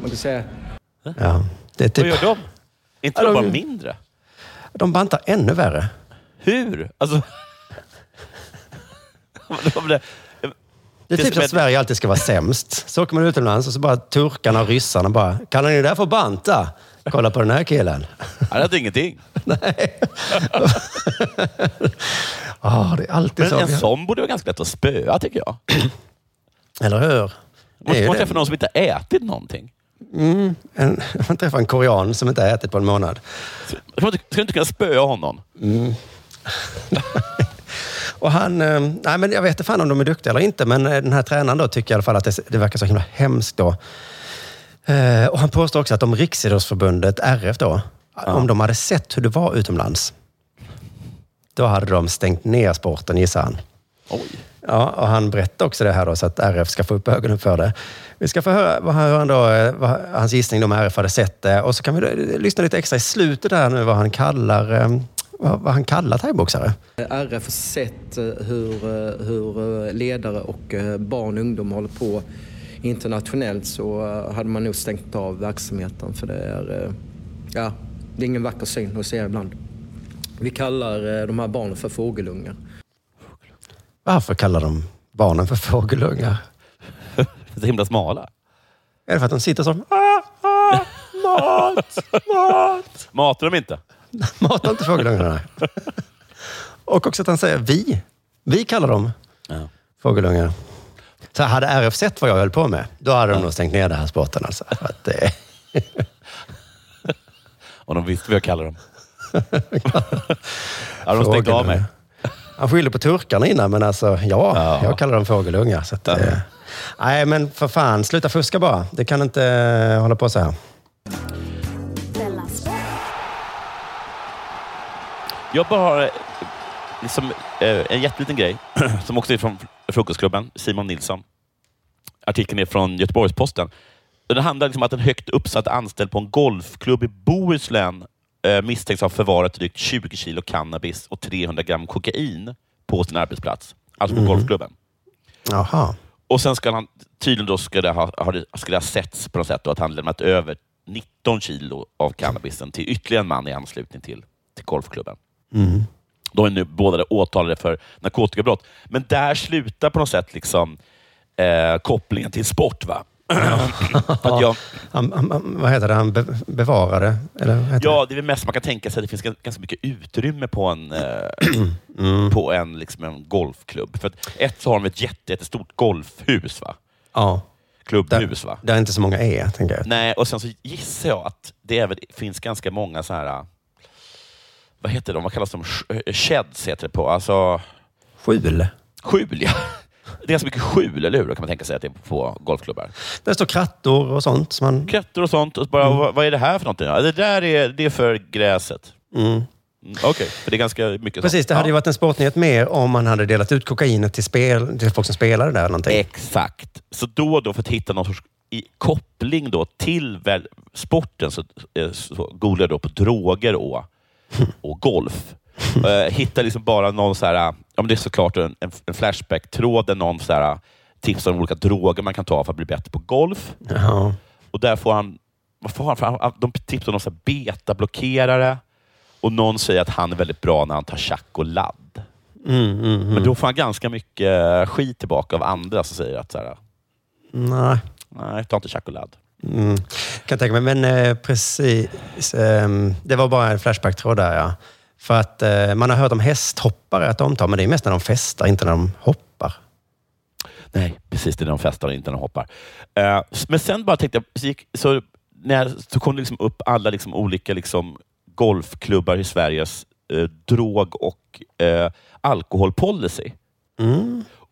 [SPEAKER 12] Man kan säga...
[SPEAKER 7] Ja, det är typ,
[SPEAKER 3] Vad gör de? Är inte
[SPEAKER 7] Ja,
[SPEAKER 3] de
[SPEAKER 7] de-
[SPEAKER 3] bara mindre?
[SPEAKER 7] de bantar ännu värre.
[SPEAKER 3] Hur? Alltså... (laughs) Det var det-
[SPEAKER 7] Det är
[SPEAKER 3] Det
[SPEAKER 7] typ
[SPEAKER 3] som
[SPEAKER 7] som
[SPEAKER 3] är-
[SPEAKER 7] att Sverige alltid ska vara sämst. Så åker man utomlands och så bara turkarna och ryssarna bara, kallar ni det där för banta? Kolla på den här killen.
[SPEAKER 3] Han hade ingenting.
[SPEAKER 7] Ah, det är alltid
[SPEAKER 3] Men
[SPEAKER 7] så.
[SPEAKER 3] en
[SPEAKER 7] vi-
[SPEAKER 3] sån borde vara ganska lätt att spöa, tycker jag.
[SPEAKER 7] Eller hur? Det är
[SPEAKER 3] Man
[SPEAKER 7] ju
[SPEAKER 3] man
[SPEAKER 7] det.
[SPEAKER 3] träffar någon som inte har ätit någonting.
[SPEAKER 7] Mm, en, (laughs) man träffar en korean som inte har ätit på en månad.
[SPEAKER 3] Ska man inte- ska du inte kunna spöa honom?
[SPEAKER 7] Och han, eh, nej men jag vet inte fan om de är duktiga eller inte, men eh, den här tränaren då tycker i alla fall att det, det verkar så himla hemskt då. Eh, och han påstår också att om Riksidrottsförbundet, RF då, om de hade sett hur det var utomlands, då hade de stängt ner sporten, gissar han.
[SPEAKER 3] Oj.
[SPEAKER 7] Ja, och han berättar också det här då, så att RF ska få upp ögonen för det. Vi ska få höra vad han, hur han då, eh, vad hans gissning om RF hade sett det. Och så kan vi då, eh, lyssna lite extra i slutet där nu vad han kallar, eh, vad, vad han kallar thaiboxare.
[SPEAKER 12] RF har sett eh, hur, eh, hur eh, ledare och eh, barn och ungdom håller på internationellt så eh, hade man nog stängt av verksamheten för det är, eh, ja, det är ingen vacker syn att se ibland. Vi kallar eh, de här barnen för fågelungar.
[SPEAKER 7] Varför kallar de barnen för fågelungar?
[SPEAKER 3] Så himla smala.
[SPEAKER 7] Är det för att de sitter som... "Ah,
[SPEAKER 3] Mat! Mat! Matar de inte?
[SPEAKER 7] Matar inte fågelungarna. Och också att han säger vi. Vi kallar dem fågelungar. Så hade RF sett vad jag höll på med, då hade de nog stängt ner den här sporten. Alltså. För Att, eh,
[SPEAKER 3] Om de visste vad jag kallar dem. ja, de stängde av
[SPEAKER 7] fågelungar.
[SPEAKER 3] mig.
[SPEAKER 7] Han skyllde på turkarna innan, men alltså, ja, jag kallar dem fågelungar. Så att, eh, Nej, men för fan, sluta fuska bara. Det kan inte eh, hålla på så här.
[SPEAKER 3] Jag bara har eh, liksom, eh, en jätteliten grej som också är från Frukostklubben. Simon Nilsson. Artikeln är från Göteborgs-Posten. Det handlar liksom om att en högt uppsatt anställd på en golfklubb i Bohuslän eh, misstänks ha förvarat drygt 20 kilo cannabis och 300 gram kokain på sin arbetsplats. Alltså på
[SPEAKER 7] Mhm.
[SPEAKER 3] golfklubben.
[SPEAKER 7] Jaha.
[SPEAKER 3] Och sen ska han tydligen då ska det ha, ha, det- ska det ha setts på något sätt då, att han lämnat över 19 kilo av cannabisen till ytterligare en man i anslutning till, till golfklubben.
[SPEAKER 7] Mm.
[SPEAKER 3] De är nu båda åtalade för narkotikabrott. Men där slutar på något sätt liksom, eh, kopplingen till sport.
[SPEAKER 7] (clears throat)
[SPEAKER 3] Va? att jag,
[SPEAKER 7] Han, han, han, vad heter det? Han be, bevarade? Eller vad heter
[SPEAKER 3] ja, det är väl mest man kan tänka sig. Det finns gans- ganska mycket utrymme på en, eh,
[SPEAKER 7] (clears throat) Mm.
[SPEAKER 3] på en, liksom en golfklubb. För att, ett så har de ett jätte, jättestort golfhus. Va?
[SPEAKER 7] Ja.
[SPEAKER 3] Klubbhus. va?
[SPEAKER 7] det? Där inte så många är, tänker jag.
[SPEAKER 3] Nej, och sen så gissar jag att det även finns ganska många så här... Vad heter de? Vad kallas de? Sh- eh, Sheds heter det på. Alltså,
[SPEAKER 7] Skjul.
[SPEAKER 3] skjul, ja. Det är ganska mycket skjul, eller hur? Kan man tänka sig att det är på golfklubbar.
[SPEAKER 7] Där står krattor och sånt. Som man,
[SPEAKER 3] Krättor och sånt. Och så bara,
[SPEAKER 7] Mm.
[SPEAKER 3] vad, vad är det här för någonting? Ja, det där är, det är för gräset.
[SPEAKER 7] Mm.
[SPEAKER 3] Mm, Okej, för det är ganska mycket
[SPEAKER 7] Precis, det hade ju varit en sportnyhet mer om man hade delat ut kokainet till, spel, till folk som spelade där. eller Någonting.
[SPEAKER 3] Exakt. Så då och då, för att hitta någon sorts i koppling då till väl, sporten, så, eh, så googlar jag då på droger och, och golf. Eh, Hittar liksom bara någon så här, ja, men det är såklart en, en, en Flashback-tråd där någon så här, eh, tipsar om olika droger man kan ta för att bli bättre på golf.
[SPEAKER 7] Jaha.
[SPEAKER 3] Och där får han, vad får han för, han- de tipsar om någon så här betablockerare och någon säger att han är väldigt bra när han tar tjack och ladd.
[SPEAKER 7] Mm, mm, mm.
[SPEAKER 3] Men då får han ganska mycket eh, skit tillbaka av andra som säger att så här,
[SPEAKER 7] Nej.
[SPEAKER 3] nej, ta inte tjack och ladd.
[SPEAKER 7] Mm. Kan jag tänka mig. Men eh, precis. ehm, det var bara en flashback-tråd där, ja. För att eh, man har hört om hästhoppare att de tar, men det är mest när de festar, inte när de hoppar.
[SPEAKER 3] Nej, precis. Det är när de festar och inte när de hoppar. Eh, s- men sen bara tänkte jag, så, gick, så, när, så kom det liksom upp alla liksom olika liksom golfklubbar i Sveriges eh, drog och eh, alkoholpolicy.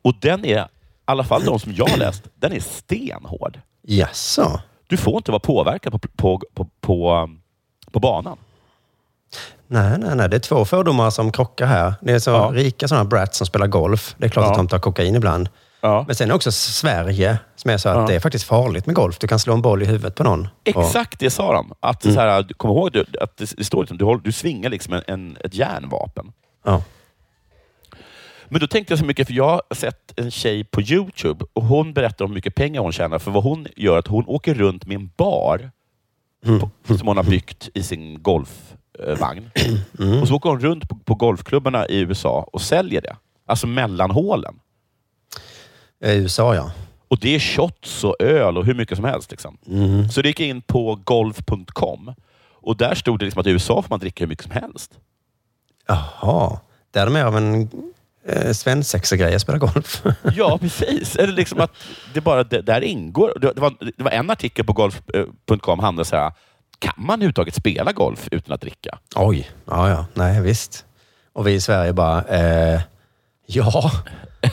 [SPEAKER 3] Och den är, i alla fall de som jag har läst, den är stenhård.
[SPEAKER 7] Jaså?
[SPEAKER 3] Du får inte vara påverkad på, på, på, på, på banan.
[SPEAKER 7] Nej, nej, nej. Det är två fördomar som krockar här. Det är så rika sådana brats som spelar golf. Det är klart att de tar kokain ibland. Men sen är också Sverige, som är så att det är faktiskt farligt med golf. Du kan slå en boll i huvudet på någon.
[SPEAKER 3] Exakt det sa de. Att, så här, du- kom ihåg du, att det, det står liksom, du, håller, du svingar liksom en, en, ett järnvapen.
[SPEAKER 7] Ja.
[SPEAKER 3] Men då tänkte jag så mycket, för jag har sett en tjej på Youtube och hon berättar om hur mycket pengar hon tjänar. För vad hon gör är att hon åker runt med en bar på, som hon har byggt i sin golfvagn. Och så åker hon runt på, på golfklubbarna i USA och säljer det. Alltså mellan hålen.
[SPEAKER 7] I USA, ja.
[SPEAKER 3] Och det är shots och öl och hur mycket som helst. Liksom. Så det gick jag in på golf.com och där stod det liksom att i USA får man dricka hur mycket som helst.
[SPEAKER 7] Jaha. Där är de mer av en eh, svensexagrej att spela golf. (laughs)
[SPEAKER 3] Ja, precis. Eller liksom att det bara det, där ingår. Det, det, var, det var en artikel på golf.com handlade så här. Kan man överhuvudtaget spela golf utan att dricka? (laughs)
[SPEAKER 7] Oj. Ja, ja. Nej, visst. Och vi i Sverige bara, eh, ja.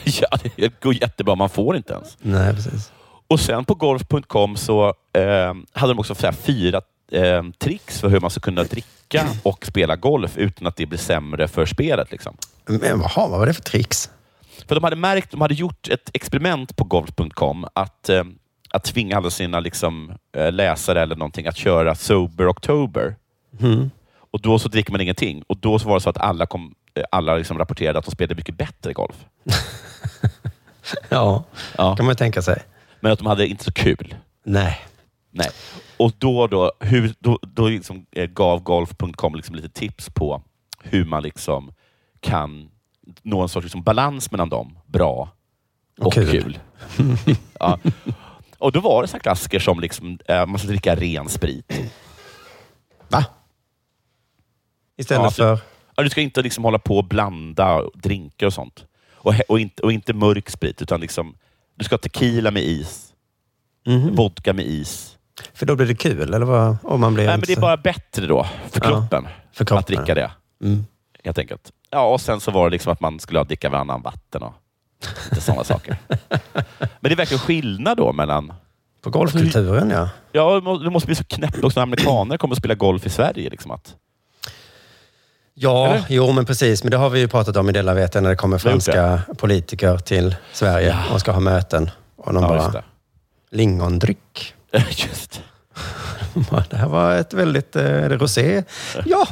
[SPEAKER 3] ja, det går jättebra. Man får inte ens.
[SPEAKER 7] Nej, precis.
[SPEAKER 3] Och sen på golf.com så eh, hade de också så här fyra eh, tricks för hur man ska kunna dricka och spela golf utan att det blir sämre för spelet. Liksom.
[SPEAKER 7] Men jaha, vad var det för tricks?
[SPEAKER 3] För de hade märkt, de hade gjort ett experiment på golf.com att, eh, att tvinga alla sina liksom, eh, läsare eller någonting att köra Sober October.
[SPEAKER 7] Mm.
[SPEAKER 3] Och då så dricker man ingenting. Och då så var det så att alla, kom, eh, alla liksom rapporterade att de spelade mycket bättre golf.
[SPEAKER 7] Ja,
[SPEAKER 3] Ja.
[SPEAKER 7] kan man ju tänka sig.
[SPEAKER 3] Men att de hade inte så kul.
[SPEAKER 7] Nej.
[SPEAKER 3] Nej. Och då, då, hur, då, då liksom, eh, gav golf.com liksom lite tips på hur man liksom kan nå en sorts liksom balans mellan dem. Bra och, kul. (laughs) ja. Och då var det så här klassiker som liksom, eh, man ska dricka ren sprit.
[SPEAKER 7] Va? Istället
[SPEAKER 3] Ja,
[SPEAKER 7] för...
[SPEAKER 3] Ja, du ska inte liksom hålla på och blanda drinkar och sånt. Och, he- och, inte, och inte mörk sprit, utan liksom, du ska ha tequila med is.
[SPEAKER 7] Mhm.
[SPEAKER 3] Vodka med is.
[SPEAKER 7] För då blir det kul, eller vad? Om man blir
[SPEAKER 3] Nej, men
[SPEAKER 7] inte
[SPEAKER 3] det är
[SPEAKER 7] så-
[SPEAKER 3] bara bättre då, för
[SPEAKER 7] Ja,
[SPEAKER 3] kroppen,
[SPEAKER 7] för kroppen.
[SPEAKER 3] att dricka det.
[SPEAKER 7] Mm.
[SPEAKER 3] Helt enkelt. Ja, och sen så var det liksom att man skulle ha dricka varannan vatten och
[SPEAKER 7] (laughs)
[SPEAKER 3] lite sådana saker. Men det är verkligen skillnad då mellan...
[SPEAKER 7] På golfkulturen, ja.
[SPEAKER 3] Ja, det måste bli så knäppt också när amerikaner kommer att spela golf i Sverige. Liksom att,
[SPEAKER 7] Ja, jo men precis. Men det har vi ju pratat om i Dela Vete när det kommer
[SPEAKER 3] Vi har gjort
[SPEAKER 7] franska politiker till Sverige och ska ha möten. Och de
[SPEAKER 3] Ja,
[SPEAKER 7] bara...
[SPEAKER 3] just det.
[SPEAKER 7] Lingondryck. (laughs)
[SPEAKER 3] Just det. (laughs)
[SPEAKER 7] Det här var ett väldigt... eh, Är det rosé? Ja,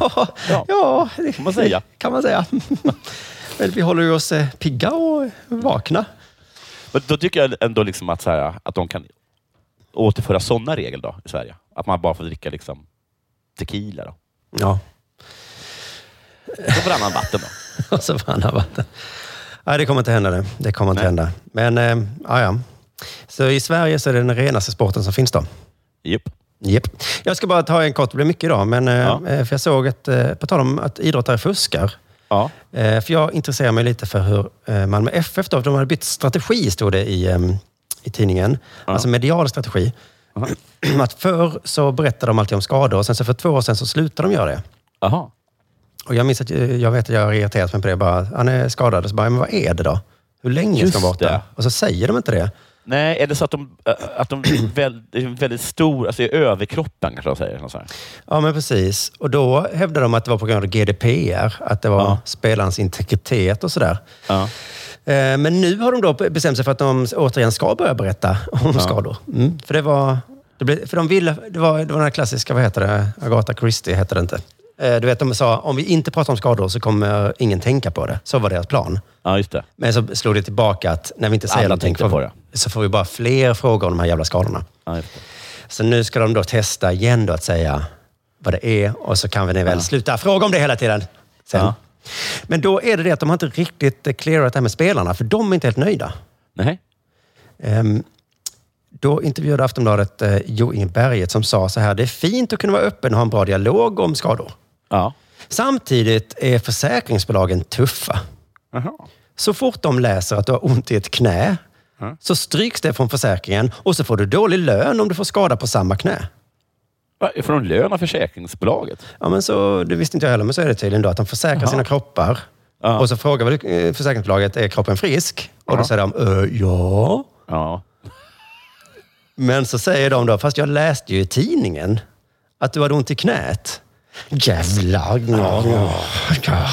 [SPEAKER 7] ja, det kan
[SPEAKER 3] man säga.
[SPEAKER 7] (laughs) Kan man säga. Men vi håller ju oss eh, pigga och vakna.
[SPEAKER 3] Men då tycker jag ändå liksom att, så här, att de kan återföra sådana regler då, i Sverige. Att man bara får dricka liksom, tequila. Då.
[SPEAKER 7] Ja, (laughs)
[SPEAKER 3] Och varannan vatten. Då.
[SPEAKER 7] och så vann han vatten. Nej, det kommer inte hända det. Det kommer inte
[SPEAKER 3] Nej.
[SPEAKER 7] hända. Men, eh, ja, ja. Så i Sverige så är det den renaste sporten som finns då.
[SPEAKER 3] Japp.
[SPEAKER 7] Japp. Jag ska bara ta en kort, det blir mycket idag, men eh, eh, för jag såg att, eh, på tal om att idrottare fuskar,
[SPEAKER 3] Ja.
[SPEAKER 7] eh, för jag intresserar mig lite för hur eh, Malmö FF, då, de hade bytt strategi, stod det i, eh, i tidningen. Alltså medial strategi. (clears throat) att förr så berättade de alltid om skador och sen så för två år sedan så slutade de göra det.
[SPEAKER 3] Aha.
[SPEAKER 7] Och jag minns att eh, jag vet att jag har irriterat mig på det. Bara, han är skadad. Och så bara, men vad är det då? Hur länge
[SPEAKER 3] Just
[SPEAKER 7] ska han vara borta?
[SPEAKER 3] det.
[SPEAKER 7] Och så säger de inte det.
[SPEAKER 3] Nej, är det så att de, äh, att de
[SPEAKER 7] (clears throat)
[SPEAKER 3] är väldigt, väldigt stor, alltså i överkroppen kanske de säger. Så här.
[SPEAKER 7] Ja, men precis. Och då hävdar de att det var på grund av GDPR. Att det var spelarens integritet och sådär.
[SPEAKER 3] Ja.
[SPEAKER 7] Eh, Men nu har de då bestämt sig för att de återigen ska börja berätta om skador. Mm. För det var... Det blev, för de ville... Det var, det var den här klassiska, vad heter det? Agatha Christie heter det inte. Eh, Du vet, de sa om vi inte pratar om skador så kommer ingen tänka på det. Så var deras plan.
[SPEAKER 3] Ja, just det.
[SPEAKER 7] Men så slog det tillbaka att när vi inte säger
[SPEAKER 3] Alla
[SPEAKER 7] någonting
[SPEAKER 3] tänkte på
[SPEAKER 7] får, så får vi bara fler frågor om de här jävla skadorna.
[SPEAKER 3] Ja, just det.
[SPEAKER 7] Så nu ska de då testa igen då att säga vad det är och så kan vi väl sluta fråga om det hela tiden. Sen.
[SPEAKER 3] Ja.
[SPEAKER 7] Men då är det det att de har inte riktigt eh, clearat det här med spelarna, för de är inte helt nöjda.
[SPEAKER 3] Nej.
[SPEAKER 7] Ehm, då intervjuade Aftonbladet eh, Jo Inge Berget som sa så här, det är fint att kunna vara öppen och ha en bra dialog om skador.
[SPEAKER 3] Ja.
[SPEAKER 7] Samtidigt är försäkringsbolagen tuffa.
[SPEAKER 3] Aha.
[SPEAKER 7] Så fort de läser att du har ont i ett knä så stryks det från försäkringen och så får du dålig lön om du får skada på samma knä.
[SPEAKER 3] Va, Får de lön av försäkringsbolaget?
[SPEAKER 7] Ja, men så, det visste inte jag heller, men så är det tydligen då att de försäkrar sina kroppar. Och så frågar väl eh, försäkringsbolaget, är kroppen frisk? Och då säger de, "Eh, ja.
[SPEAKER 3] Ja.
[SPEAKER 7] Men så säger de då, fast jag läste ju i tidningen att du hade ont i knät. Jävlar. ja, ja, ja.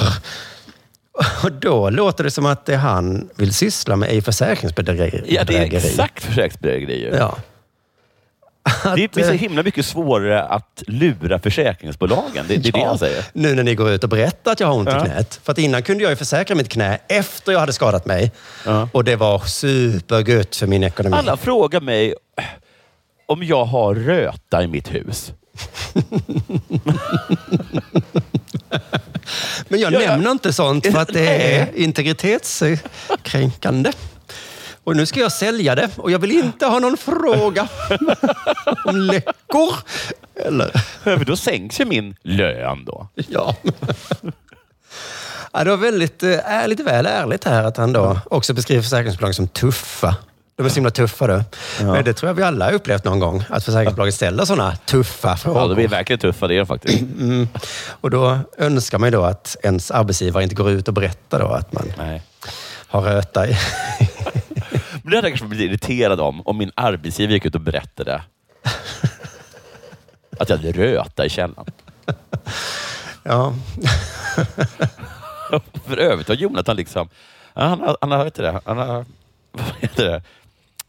[SPEAKER 7] Och då låter det som att det han vill syssla med är försäkringsbedrägeri.
[SPEAKER 3] Ja, det är exakt försäkringsbedrägerier.
[SPEAKER 7] Ja. eh,
[SPEAKER 3] Det blir så himla mycket svårare att lura försäkringsbolagen. Det, det är det han säger.
[SPEAKER 7] Nu när ni går ut och berättar att jag har ont
[SPEAKER 3] Ja.
[SPEAKER 7] i knät. För att innan kunde jag ju försäkra mitt knä efter jag hade skadat mig. Och det var supergött för min ekonomi.
[SPEAKER 3] Alla frågar mig eh, om jag har röta i mitt hus.
[SPEAKER 7] Men jag
[SPEAKER 3] Ja, ja.
[SPEAKER 7] nämner inte sånt för att det är integritetskränkande. Och nu ska jag sälja det och jag vill inte ha någon
[SPEAKER 3] (laughs)
[SPEAKER 7] fråga om läckor. Eller...
[SPEAKER 3] För då sänks ju min lön då.
[SPEAKER 7] (laughs) Ja. ja. Det var väldigt, eh, är lite väl ärligt här att han då också beskriver försäkringsbolag som tuffa. De är så himla tuffa du. Men det tror jag vi alla har upplevt någon gång. Att försäkringsbolagen ställer sådana tuffa
[SPEAKER 3] Ja, de
[SPEAKER 7] frågor.
[SPEAKER 3] är verkligen tuffa det är de faktiskt.
[SPEAKER 7] Mm. Och då önskar man ju då att ens arbetsgivare inte går ut och berättar då att man
[SPEAKER 3] Nej.
[SPEAKER 7] har röta i... (laughs)
[SPEAKER 3] Men det hade jag kanske blivit irriterad om, om min arbetsgivare gick ut och berättade att jag hade röta i källaren. (laughs)
[SPEAKER 7] Ja.
[SPEAKER 3] För övrigt har Jonathan liksom Ja, Han har, han har, vet du det? Han har, (laughs) vad heter det?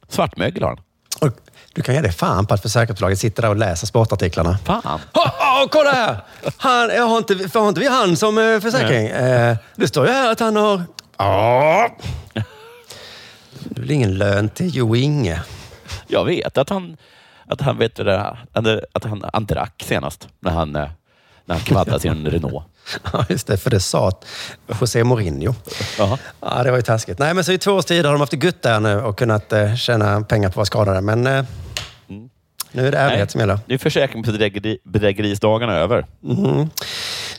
[SPEAKER 3] Svartmögel har han.
[SPEAKER 7] Och du kan ge dig fan på att försäkringsbolaget sitter där och läser sportartiklarna.
[SPEAKER 3] Fan.
[SPEAKER 7] Oh, kolla här! Han, jag har, inte, har inte vi han som eh, försäkring? Eh, det står ju här att han har... Ja. Det blir ingen lön till Jo Inge. (laughs)
[SPEAKER 3] Jag vet att han, att han, vet du det, att han, han drack senast när han, eh, när han kvaddade sin Renault.
[SPEAKER 7] Ja, just det. För det sa José Mourinho. Ja, det var ju taskigt. Nej, men så i två års tid har de haft det gött där nu och kunnat eh, tjäna pengar på att vara skadade. Men eh, nu är det ärlighet som gäller.
[SPEAKER 3] Nu är försäkringsbedrägerisdagarna över.
[SPEAKER 7] Mhm.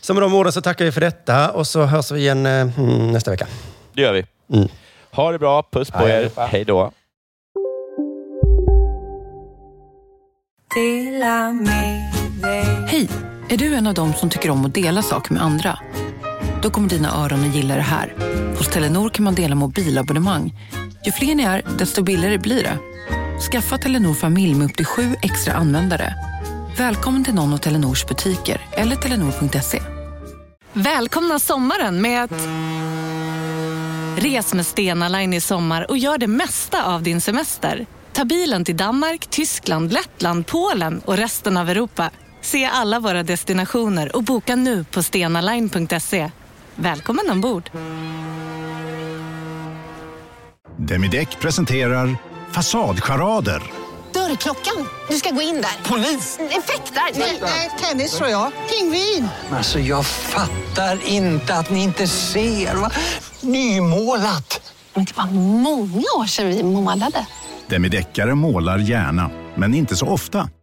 [SPEAKER 7] Så med de orden så tackar vi för detta och så hörs vi igen eh, mm, nästa vecka.
[SPEAKER 3] Det gör vi. Ha det bra. Puss på
[SPEAKER 7] Mm. Hej
[SPEAKER 3] er. Hej då.
[SPEAKER 5] Hej! Är du en av dem som tycker om att dela saker med andra? Då kommer dina öron att gilla det här. Hos Telenor kan man dela mobilabonnemang. Ju fler ni är, desto billigare blir det. Skaffa Telenor familj med upp till sju extra användare. Välkommen till någon av Telenors butiker eller telenor.se.
[SPEAKER 13] Välkomna sommaren med att... Res med Stena Line i sommar och gör det mesta av din semester. Ta bilen till Danmark, Tyskland, Lettland, Polen och resten av Europa. Se alla våra destinationer och boka nu på stenaline.se. Välkommen ombord!
[SPEAKER 14] Demideck presenterar Fasadcharader.
[SPEAKER 15] Dörrklockan. Du ska gå in där. Polis? Effektar? Nej, nej, tennis tror jag. Pingvin.
[SPEAKER 16] Alltså jag fattar inte att ni inte ser. Va? Nymålat.
[SPEAKER 15] Men det var många år sedan vi målade.
[SPEAKER 17] Demideckare målar gärna, men inte så ofta.